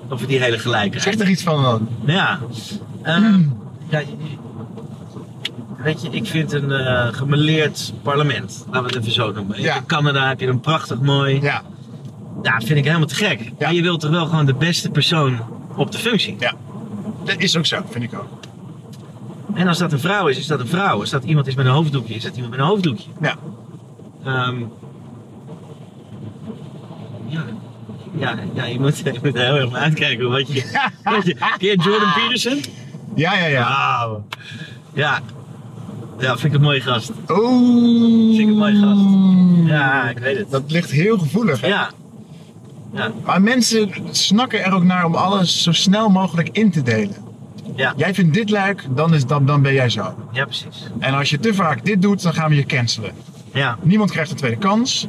C: Over die hele gelijkheid.
B: Zeg er iets van dan.
C: Ja. Ehm, ja je- weet je, ik vind een eh gemeleerd parlement. Laten we het even zo noemen.
B: Ja.
C: In Canada heb je een prachtig mooi. Ja,
B: Ja,
C: dat vind ik helemaal te gek. Maar je wilt toch wel gewoon de beste persoon op de functie.
B: dat is ook zo, vind ik ook.
C: En als dat een vrouw is, is dat een vrouw. Als dat iemand is met een hoofddoekje, is dat iemand met een hoofddoekje.
B: Ja.
C: Ehm, ja. Ja, ja je, moet, je moet er heel erg naar uitkijken. Wat je, wat je, ken je Jordan Peterson?
B: Ja, ja, ja.
C: Wauw. Ja. Ja, vind ik een mooie gast.
B: Oeh.
C: Vind ik een mooie gast. Ja, ik weet het.
B: Dat ligt heel gevoelig, hè?
C: Ja.
B: Maar mensen snakken er ook naar om alles zo snel mogelijk in te delen.
C: Ja.
B: Jij vindt dit leuk, dan, is dat, dan ben jij zo.
C: ja, precies.
B: En als je te vaak dit doet, dan gaan we je cancelen.
C: Ja,
B: Niemand krijgt een tweede kans.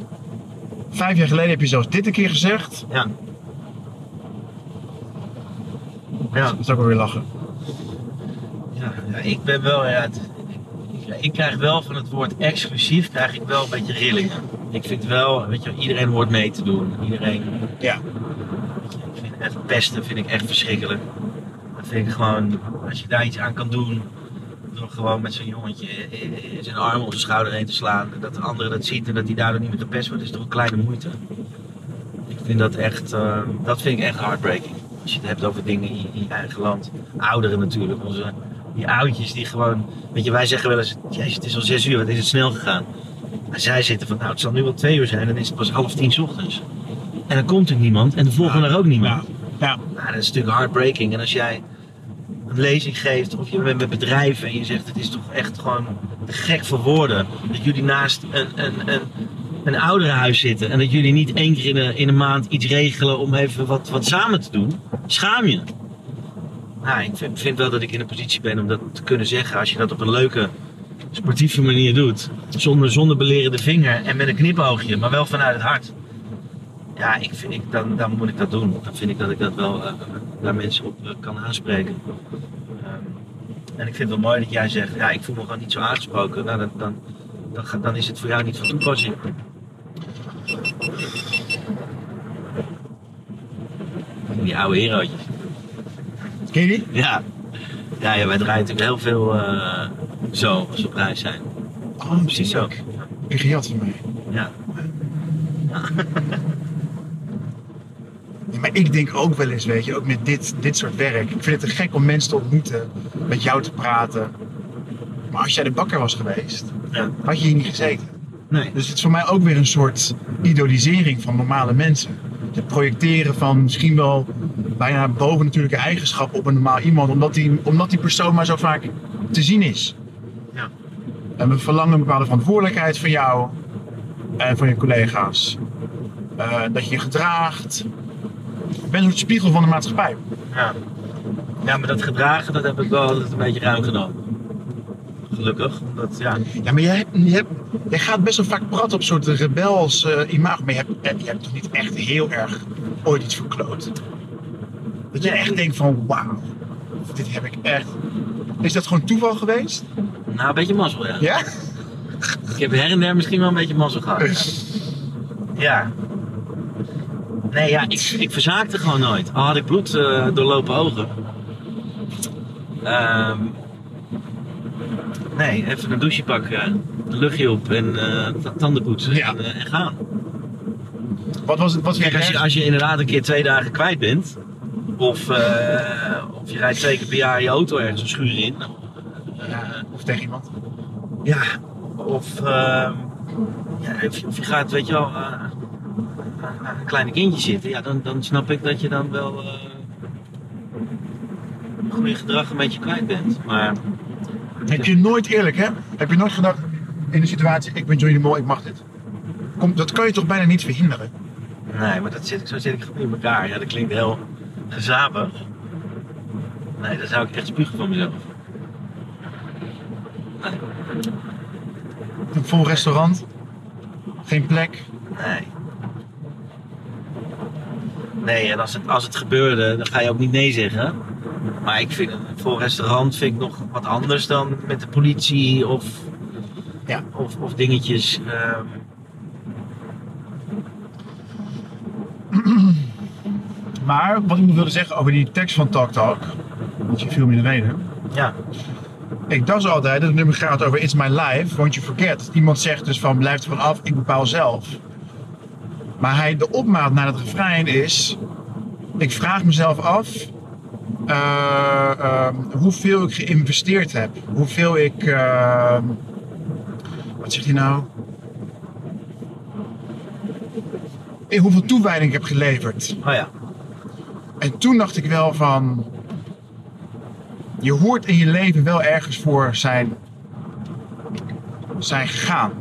B: Vijf jaar geleden heb je zelfs dit een keer gezegd.
C: ja. Ja,
B: Dat is ook wel weer lachen.
C: ja, ja, ik ben wel, ja, het- ik, ik krijg wel van het woord exclusief, krijg ik wel een beetje rillingen. Ik vind wel, weet je, iedereen hoort mee te doen. Iedereen,
B: Ja.
C: ik vind echt pesten vind ik echt verschrikkelijk. Dat vind ik gewoon, als je daar iets aan kan doen, door gewoon met zo'n jongetje eh, eh, zijn arm om zijn schouder heen te slaan, dat de andere dat ziet en dat hij daardoor niet meer gepest wordt, is toch een kleine moeite. Ik vind dat echt, eh, dat vind ik echt heartbreaking. Als je het hebt over dingen in in je eigen land. Ouderen natuurlijk, onze, die oudjes die gewoon, weet je, wij zeggen wel eens, jezus het is al zes uur, wat is het snel gegaan. Maar zij zitten van, nou het zal nu wel twee uur zijn, dan is het pas half tien 's ochtends. En dan komt er niemand en de volgende er ook niemand.
B: Ja. Ja.
C: Nou, dat is natuurlijk heartbreaking. En als jij een lezing geeft of je bent met bedrijven en je zegt het is toch echt gewoon te gek voor woorden. Dat jullie naast een, een, een, een ouderenhuis zitten en dat jullie niet één keer in een, in een maand iets regelen om even wat, wat samen te doen. Schaam je. Nou, ik vind, vind wel dat ik in een positie ben om dat te kunnen zeggen als je dat op een leuke sportieve manier doet. Zonder, zonder belerende vinger en met een knipoogje, maar wel vanuit het hart. Ja, ik vind, ik, dan, dan moet ik dat doen. Dan vind ik dat ik dat wel eh, daar mensen op eh, kan aanspreken. Ehm, en ik vind het wel mooi dat jij zegt, ja, ik voel me gewoon niet zo aangesproken. Nou, dan, dan, dan, ga- dan is het voor jou niet van toepassing. Die oude herootjes.
B: Ken je die?
C: Ja. ja, ja, wij draaien natuurlijk heel veel eh, zo als we op reis zijn.
B: Oh,
C: Precies zo.
B: Ik gejat van mij.
C: Ja.
B: Ja, Maar ik denk ook wel eens, weet je, ook met dit, dit soort werk. Ik vind het te gek om mensen te ontmoeten, met jou te praten. Maar als jij de bakker was geweest,
C: Ja.
B: had je hier niet gezeten.
C: Nee.
B: Dus het is voor mij ook weer een soort idolisering van normale mensen. Het projecteren van misschien wel bijna bovennatuurlijke eigenschappen op een normaal iemand, omdat die, omdat die persoon maar zo vaak te zien is.
C: Ja.
B: En we verlangen een bepaalde verantwoordelijkheid van jou en van je collega's. Eh, dat je je gedraagt. Je bent een soort spiegel van de maatschappij.
C: Ja. ja, maar dat gedragen, dat heb ik wel altijd een beetje ruim genomen. Gelukkig, omdat ja,
B: Ja, maar jij, hebt- je hebt, jij gaat best wel vaak praten op soort rebels eh imago. Maar je hebt, eh, je hebt toch niet echt heel erg ooit iets verkloot? Dat je echt denkt van, wauw, dit heb ik echt. Is dat gewoon toeval geweest?
C: nou een beetje mazzel ja.
B: Ja?
C: Ik heb her en der misschien wel een beetje mazzel gehad. Ja. Ja. Nee, ja, ik, ik verzaakte gewoon nooit. Al had ik bloed eh, doorlopen ogen. Ehm, nee, even een douche pakken, een luchtje op en eh, ta- tanden poetsen
B: Ja.
C: en, eh, en gaan.
B: Wat was het? Wat
C: Kijk, als je, als je inderdaad een keer twee dagen kwijt bent, of, eh, of je rijdt twee keer per jaar je auto ergens een schuur in,
B: Ja, of tegen iemand.
C: ja, of, ehm, ja, of, je- of je gaat, weet je wel, eh, naar een kleine kindje zitten, ja, dan, dan snap ik dat je dan wel eh goede gedrag een beetje kwijt bent. Maar
B: Heb je nooit eerlijk, hè? Heb je nooit gedacht in de situatie, ik ben Johnny de Mol, ik mag dit. Kom, dat kan je toch bijna niet verhinderen?
C: nee, maar dat zit, ik- zo zit ik gewoon in elkaar. Ja, dat klinkt heel gezapig. Nee, daar zou ik echt spugen van mezelf. Nee.
B: Een vol restaurant, geen plek.
C: Nee. Nee, en als het, als het gebeurde, dan ga je ook niet nee zeggen. Maar ik vind een vol restaurant vind ik nog wat anders dan met de politie of,
B: Ja.
C: of, of dingetjes. ehm.
B: Maar wat ik nog wilde zeggen over die tekst van Talk Talk, want je viel me in de reden.
C: ja,
B: Ik dacht altijd, dat het nummer gaat over It's My Life, want je forget. Iemand zegt dus van blijf er van af, ik bepaal zelf. Maar hij, de opmaat naar het refrein is, ik vraag mezelf af eh, eh, hoeveel ik geïnvesteerd heb. Hoeveel ik, eh, wat zegt hij nou? In Eh, hoeveel toewijding ik heb geleverd.
C: oh ja.
B: En toen dacht ik wel van. Je hoort in je leven wel ergens voor zijn, zijn gegaan.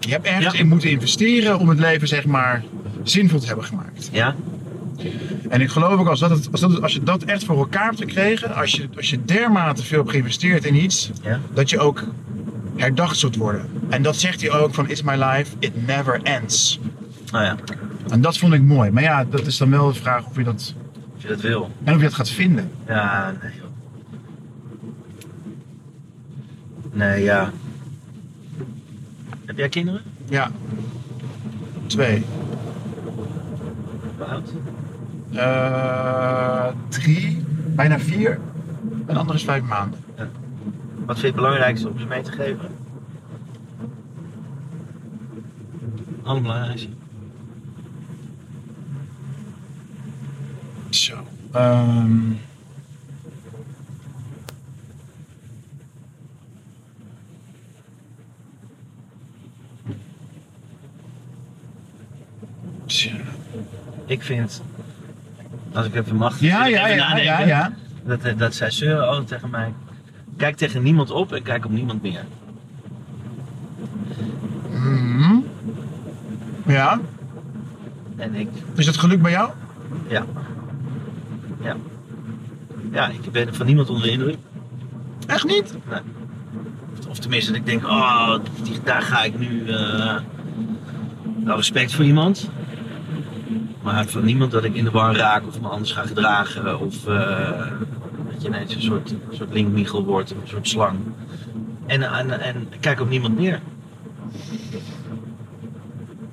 B: Je hebt ergens
C: Ja.
B: in moeten investeren om het leven zeg maar zinvol te hebben gemaakt.
C: Ja?
B: En ik geloof ook als, dat het, als, dat het- als je dat echt voor elkaar hebt gekregen, als je, als je dermate veel hebt geïnvesteerd in iets,
C: Ja.
B: dat je ook herdacht zult worden. En dat zegt hij ook van It's my life, it never ends.
C: Oh ja,
B: En dat vond ik mooi. Maar ja, dat is dan wel de vraag of je dat,
C: als je dat wil.
B: en of je dat gaat vinden.
C: Ja, nee joh. Nee, ja. Heb jij kinderen?
B: Ja. Twee.
C: Hoe oud?
B: Eh, drie, bijna vier. Een ander is vijf maanden.
C: Wat vind je het belangrijkste om ze mee te geven? Allerbelangrijkste.
B: Zo. Ehm, tja.
C: Ik vind, als ik even mag,
B: Ja,
C: even
B: ja, ja,
C: nadenken,
B: ja, ja.
C: Dat, eh, dat zij zeuren altijd tegen mij. Kijk tegen niemand op en kijk op niemand meer.
B: Mhm. Ja,
C: En ik,
B: is dat geluk bij jou?
C: ja. Ja. Ja, ik ben van niemand onder de indruk.
B: Echt niet?
C: Nou, Of tenminste, dat ik denk, oh, die, daar ga ik nu eh, wel respect voor iemand. Maar van niemand dat ik in de war raak of me anders ga gedragen. Of eh, dat je ineens een soort, soort linkmichel wordt, een soort slang. En, en, en ik kijk op niemand neer.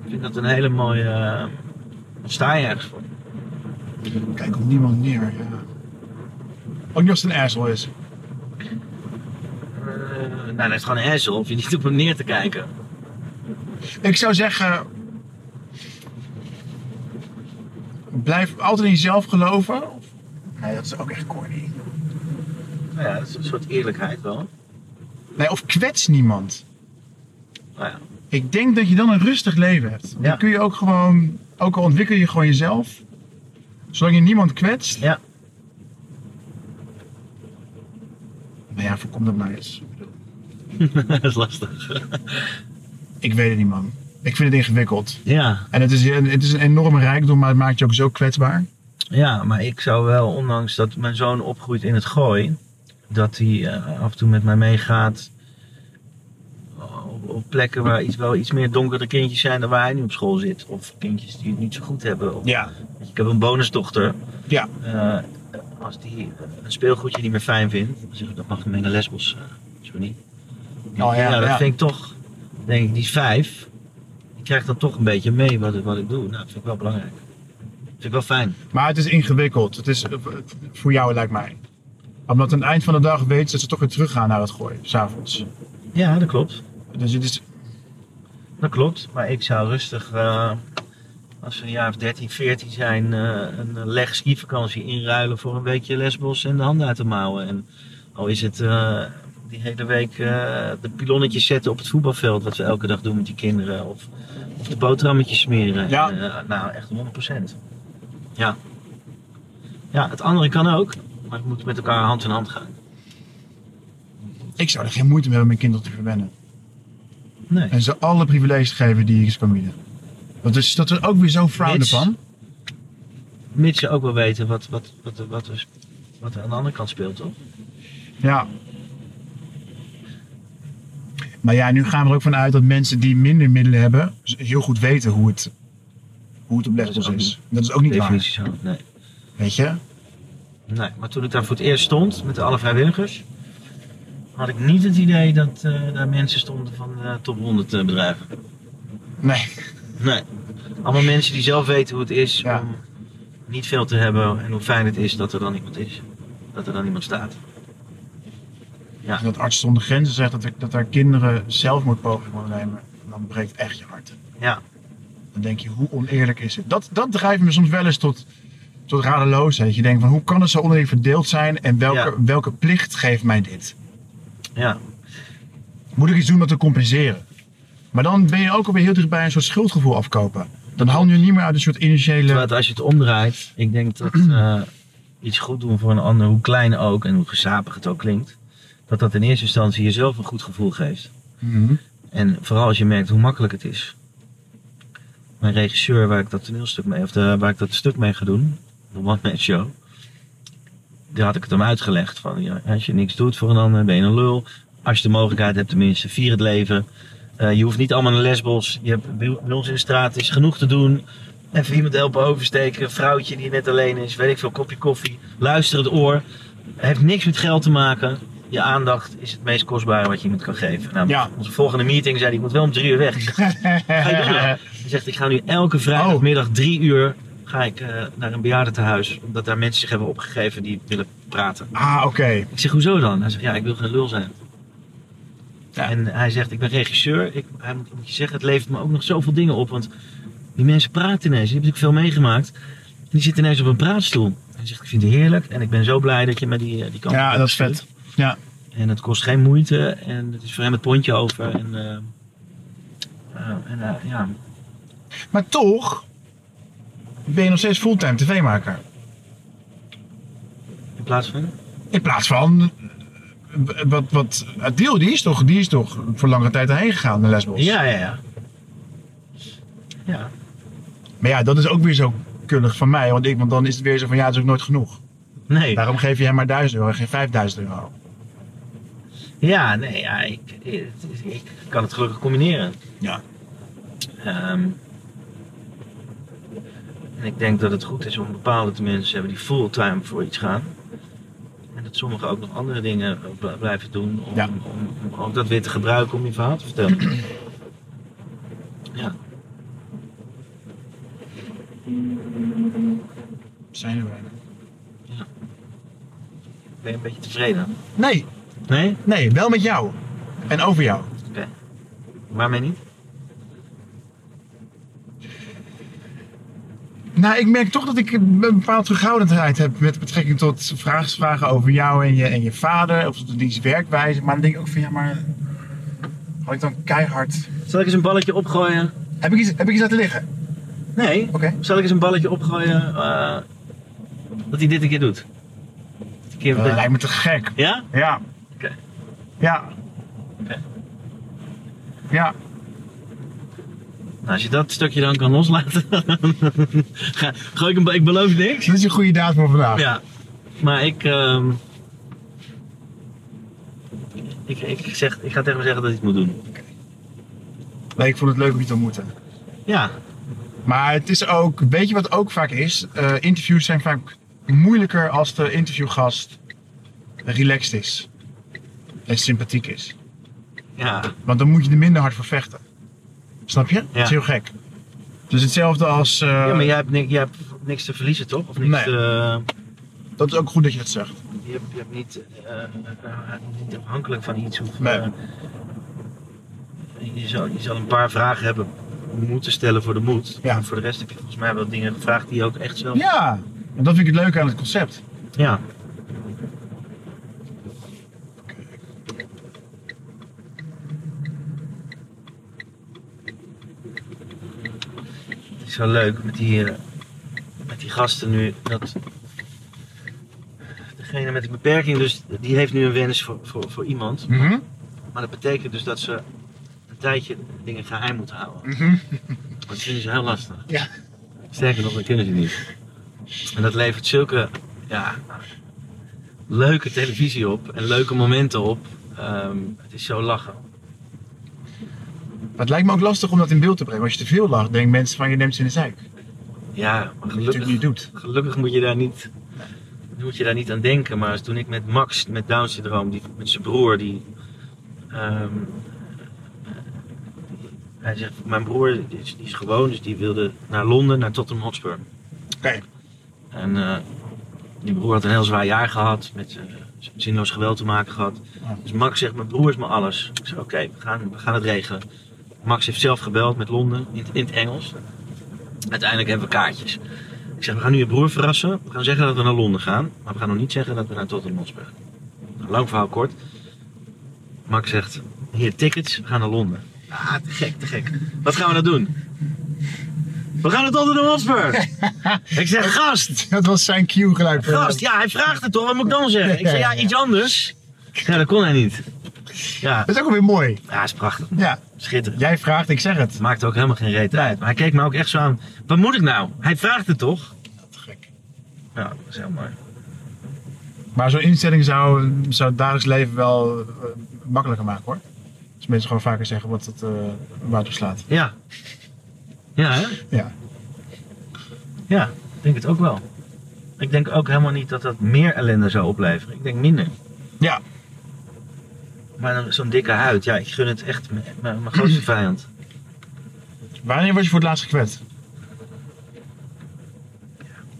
C: Ik vind dat een hele mooie... eh, dan sta je ergens voor.
B: Kijk op niemand neer. Ja. Ook niet als het een asshole is.
C: Eh, nou, dat is gewoon een hassle. Hoef je niet op hem neer te kijken.
B: Ik zou zeggen. Blijf altijd in jezelf geloven. Of- Nee, dat is ook echt corny.
C: Nou ja, dat is een soort eerlijkheid wel.
B: Nee, of kwets niemand.
C: Nou ja.
B: Ik denk dat je dan een rustig leven hebt.
C: Ja.
B: Dan kun je ook gewoon, ook al ontwikkel je gewoon jezelf, zolang je niemand kwetst.
C: Ja.
B: Nou ja, voorkom dat nou eens.
C: dat is lastig.
B: Ik weet het niet, man. Ik vind het ingewikkeld.
C: Ja,
B: En het is, het is een enorme rijkdom, maar het maakt je ook zo kwetsbaar.
C: ja, maar ik zou wel, ondanks dat mijn zoon opgroeit in het gooi, dat hij eh, af en toe met mij meegaat op, op plekken waar iets, wel iets meer donkere kindjes zijn dan waar hij nu op school zit. Of kindjes die het niet zo goed hebben. Of-
B: Ja.
C: Ik heb een bonusdochter.
B: Ja.
C: Eh, als die een speelgoedje niet meer fijn vindt, dan zeg ik, dat mag mee naar Lesbos, eh, zo niet.
B: ja,
C: dat
B: ja.
C: vind ik toch, denk ik, die is vijf, die krijgt dan toch een beetje mee wat, wat ik doe. Nou, dat vind ik wel belangrijk. Dat vind ik wel fijn.
B: Maar het is ingewikkeld. Het is eh, voor jou, lijkt mij. Omdat aan het eind van de dag weet je dat ze toch weer teruggaan naar het gooien, s'avonds.
C: Ja, dat klopt.
B: Dus het is,
C: Dat klopt. Maar ik zou rustig, eh, als we een jaar of 13, 14 zijn, eh, een leg skivakantie inruilen voor een weekje Lesbos en de handen uit de mouwen. En al is het eh, die hele week eh, de pilonnetjes zetten op het voetbalveld, wat we elke dag doen met die kinderen. Of, of de boterhammetjes smeren.
B: Ja.
C: En, eh, nou, echt 100%. Ja. Ja, het andere kan ook, maar het moet met elkaar hand in hand gaan.
B: ik zou er geen moeite mee hebben mijn kinderen te verwennen.
C: Nee.
B: En ze alle privileges te geven die ik ze kan bieden. Dat is, dat is ook weer zo'n fraude
C: Mits.
B: van.
C: Mits ze ook wel weten wat, wat, wat, wat, er- wat er aan de andere kant speelt, toch?
B: Ja. Maar ja, nu gaan we er ook vanuit dat mensen die minder middelen hebben, z- heel goed weten hoe het, hoe het op
C: Dat
B: Lesbos
C: is ook
B: is. Dat is ook niet waar.
C: Definitie zo, nee.
B: Weet je?
C: Nee, maar toen ik daar voor het eerst stond met alle vrijwilligers, had ik niet het idee dat eh, daar mensen stonden van de top 100 bedrijven.
B: Nee.
C: Nee. Allemaal mensen die zelf weten hoe het is
B: Ja.
C: om niet veel te hebben en hoe fijn het is dat er dan iemand is. Dat er dan iemand staat.
B: Dat arts zonder grenzen zegt dat, er- dat daar kinderen zelfmoordpogingen ondernemen. Dan breekt echt je hart.
C: Ja.
B: Dan denk je, hoe oneerlijk is het? Dat, dat drijft me soms wel eens tot, tot radeloosheid. Je denkt van, hoe kan het zo oneerlijk verdeeld zijn? En welke,
C: Ja.
B: welke plicht geeft mij dit?
C: Ja.
B: Moet ik iets doen om dat te compenseren? Maar dan ben je ook alweer heel dichtbij een soort schuldgevoel afkopen. Dan haal je niet meer uit een soort
C: Terwijl
B: initiële...
C: het als je het omdraait, ik denk dat eh, iets goed doen voor een ander, hoe klein ook en hoe gezapig het ook klinkt, dat dat in eerste instantie jezelf een goed gevoel geeft.
B: Mhm.
C: En vooral als je merkt hoe makkelijk het is. Mijn regisseur waar ik dat toneelstuk mee, of de- waar ik dat stuk mee ga doen, de One Man Show. Daar had ik het hem uitgelegd van, ja, als je niks doet voor een ander, ben je een lul. Als je de mogelijkheid hebt tenminste, vier het leven. Eh, je hoeft niet allemaal naar Lesbos. Je hebt, bij bij ons in de straat is genoeg te doen. Even iemand helpen oversteken, een vrouwtje die net alleen is, weet ik veel, kopje koffie. Luister het oor. Heeft niks met geld te maken. Je aandacht is het meest kostbare wat je iemand kan geven. Nou,
B: Ja.
C: Onze volgende meeting zei hij, ik moet wel om drie uur weg. Ga je doen, hè? Hij zegt, ik ga nu elke
B: Oh.
C: vrijdagmiddag drie uur ga ik, eh, naar een bejaardentehuis. Omdat daar mensen zich hebben opgegeven die willen praten.
B: ah, oké.
C: Ik zeg, hoezo dan? Hij zegt, ja, ik wil geen lul zijn.
B: Ja.
C: En hij zegt, ik ben regisseur. Ik, hij moet, moet je zeggen, het levert me ook nog zoveel dingen op. Want die mensen praten ineens. Die hebben natuurlijk veel meegemaakt. En die zitten ineens op een praatstoel. Hij zegt, ik vind het heerlijk. En ik ben zo blij dat je me die, eh, die kant
B: Ja,
C: op
B: dat is
C: stuurt.
B: vet. Ja.
C: En het kost geen moeite. En het is voor hem het pontje over. En, eh, eh, en eh, ja,
B: Maar toch ben je nog steeds fulltime tv-maker.
C: in plaats van...
B: In plaats van. eh, Wat, wat, Adil, die is, toch, die is toch voor langere tijd heen gegaan naar Lesbos.
C: Ja, ja, ja. Ja,
B: Maar ja, dat is ook weer zo kullig van mij. Want, ik, want dan is het weer zo van ja, het is ook nooit genoeg.
C: nee.
B: Daarom geef je hem maar 1000 euro en geen 5000 euro.
C: Ja, nee, ja, ik, ik, ik kan het gelukkig combineren.
B: Ja.
C: Ehm, en ik denk dat het goed is om bepaalde te mensen te hebben die fulltime voor iets gaan. En dat sommigen ook nog andere dingen bl- blijven doen om,
B: Ja.
C: om, om ook dat weer te gebruiken om je verhaal te vertellen. ja,
B: Zijn er weinig.
C: ben je een beetje tevreden?
B: Nee,
C: Nee?
B: nee, wel met jou. En over jou.
C: Waarmee niet?
B: Nou, ik merk toch dat ik een bepaalde terughoudendheid heb met betrekking tot vraag- vragen over jou en je, en je vader. Of diens werkwijze. Maar dan denk ik ook van ja, maar. Had ik dan keihard.
C: Zal ik eens een balletje opgooien?
B: Heb ik iets, heb ik iets laten liggen?
C: Nee.
B: Oké.
C: Zal ik eens een balletje opgooien eh, dat hij dit een keer doet? Een keer
B: Dat lijkt me te gek.
C: Ja?
B: Ja.
C: Oké.
B: Ja.
C: Oké.
B: Ja.
C: Nou, als je dat stukje dan kan loslaten. ga, gooi ik een ba- Ik beloof niks.
B: Dit is een goede daad voor vandaag.
C: Ja. Maar ik. ehm, ik, ik, zeg, ik ga tegen hem zeggen dat hij het moet doen.
B: Nee, ik vond het leuk om je te ontmoeten.
C: Ja.
B: Maar het is ook, weet je wat ook vaak is? Eh, interviews zijn vaak moeilijker als de interviewgast relaxed is en sympathiek is.
C: Ja.
B: Want dan moet je er minder hard voor vechten. Snap je? Dat is heel gek. Dus hetzelfde als. eh,
C: ja maar jij hebt, ni- jij hebt niks te verliezen toch? Of niks
B: Nee.
C: te-
B: Dat is ook goed dat je dat zegt.
C: Je hebt, je hebt niet, eh, eh, niet afhankelijk van iets. Of,
B: Nee.
C: eh, je, zal, je zal een paar vragen hebben moeten stellen voor de moed.
B: Ja.
C: En voor de rest heb je volgens mij wel dingen gevraagd die je ook echt zelf.
B: Ja, en dat vind ik het leuke aan het concept.
C: Ja. Het is wel leuk met die, eh, met die gasten nu. Dat degene met een beperking, dus, die heeft nu een wens voor, voor, voor iemand.
B: Mhm.
C: Maar dat betekent dus dat ze een tijdje dingen geheim moet houden.
B: Mhm.
C: Want dat vinden ze heel lastig.
B: Ja.
C: Sterker nog, dat kunnen ze niet. En dat levert zulke ja, leuke televisie op en leuke momenten op. Ehm, het is zo lachen.
B: Maar het lijkt me ook lastig om dat in beeld te brengen. Als je te veel lacht, denken mensen van je neemt ze in de zijk.
C: Ja, maar
B: Dat je natuurlijk
C: gelukkig,
B: niet doet.
C: gelukkig moet, je daar niet, moet je daar niet aan denken. Maar toen ik met Max, met Down syndroom, die, met zijn broer, die. ehm, hij zegt, mijn broer die is, die is gewoon, dus die wilde naar Londen, naar Tottenham Hotspur.
B: Oké.
C: En eh, die broer had een heel zwaar jaar gehad, met eh, zinloos geweld te maken gehad.
B: Ja.
C: Dus Max zegt, mijn broer is me alles. Ik zei, oké, we, gaan, we gaan het regelen. Max heeft zelf gebeld met Londen, in, het- in het Engels. Uiteindelijk hebben we kaartjes. Ik zeg, we gaan nu je broer verrassen. We gaan zeggen dat we naar Londen gaan. Maar we gaan nog niet zeggen dat we naar Tottenham Hotspur gaan. Nou, lang verhaal kort. Max zegt, hier tickets, we gaan naar Londen. Ah, te gek, te gek. Wat gaan we nou doen? We gaan naar Tottenham Hotspur. ik zeg, gast.
B: Dat was zijn cue geluid.
C: Gast, ja, hij vraagt het toch, wat moet ik dan zeggen? Ik zei, ja, iets anders. Ja, dat kon hij niet. Ja,
B: Dat is ook weer mooi.
C: ja is prachtig.
B: Ja,
C: Schitterend.
B: jij vraagt, ik zeg het.
C: Het maakt ook helemaal geen reet uit. Maar hij keek me ook echt zo aan, wat moet ik nou? Hij vraagt het toch?
B: Te gek.
C: Ja, dat is heel mooi.
B: Maar zo'n instelling zou, zou het dagelijks leven wel eh, makkelijker maken hoor. Als mensen gewoon vaker zeggen wat het eh water slaat.
C: Ja. Ja, hè?
B: Ja.
C: Ja, ik denk het ook wel. Ik denk ook helemaal niet dat dat meer ellende zou opleveren. Ik denk minder.
B: Ja.
C: Maar dan zo'n dikke huid, ja, ik gun het echt m- m- mijn grootste vijand.
B: Wanneer was je voor het laatst gekwetst?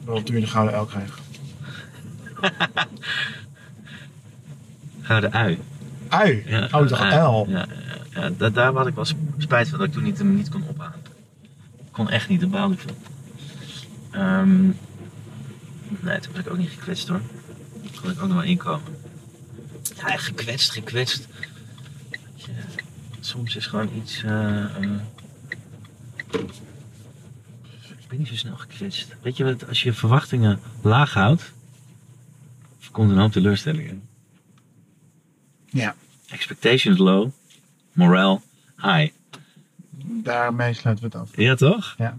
B: Waarop toen je de gouden el kreeg.
C: Ga de ui.
B: Ui!
C: Ja,
B: oh, de
C: ja,
B: el.
C: Ja, ja, ja, da- daar had ik wel sp- spijt van dat ik toen niet, hem niet kon ophalen. Ik kon echt niet, daar baalde ik van. Ehm, nee, toen was ik ook niet gekwetst hoor. Toen kon ik ook nog wel inkomen. Ja, echt gekwetst, gekwetst. Weet je, soms is gewoon iets... eh, eh, ik ben niet zo snel gekwetst. Weet je wat, als je je verwachtingen laag houdt, komt een hoop teleurstellingen.
B: Ja.
C: Expectations low, morale high.
B: Daarmee sluiten we het af.
C: Ja, toch?
B: Ja.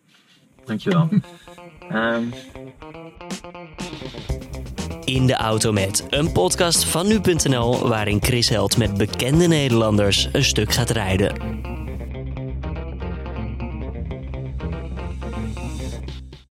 C: Dankjewel. Ehm
A: In de Auto met. Een podcast van nu.nl waarin Chris Held met bekende Nederlanders een stuk gaat rijden.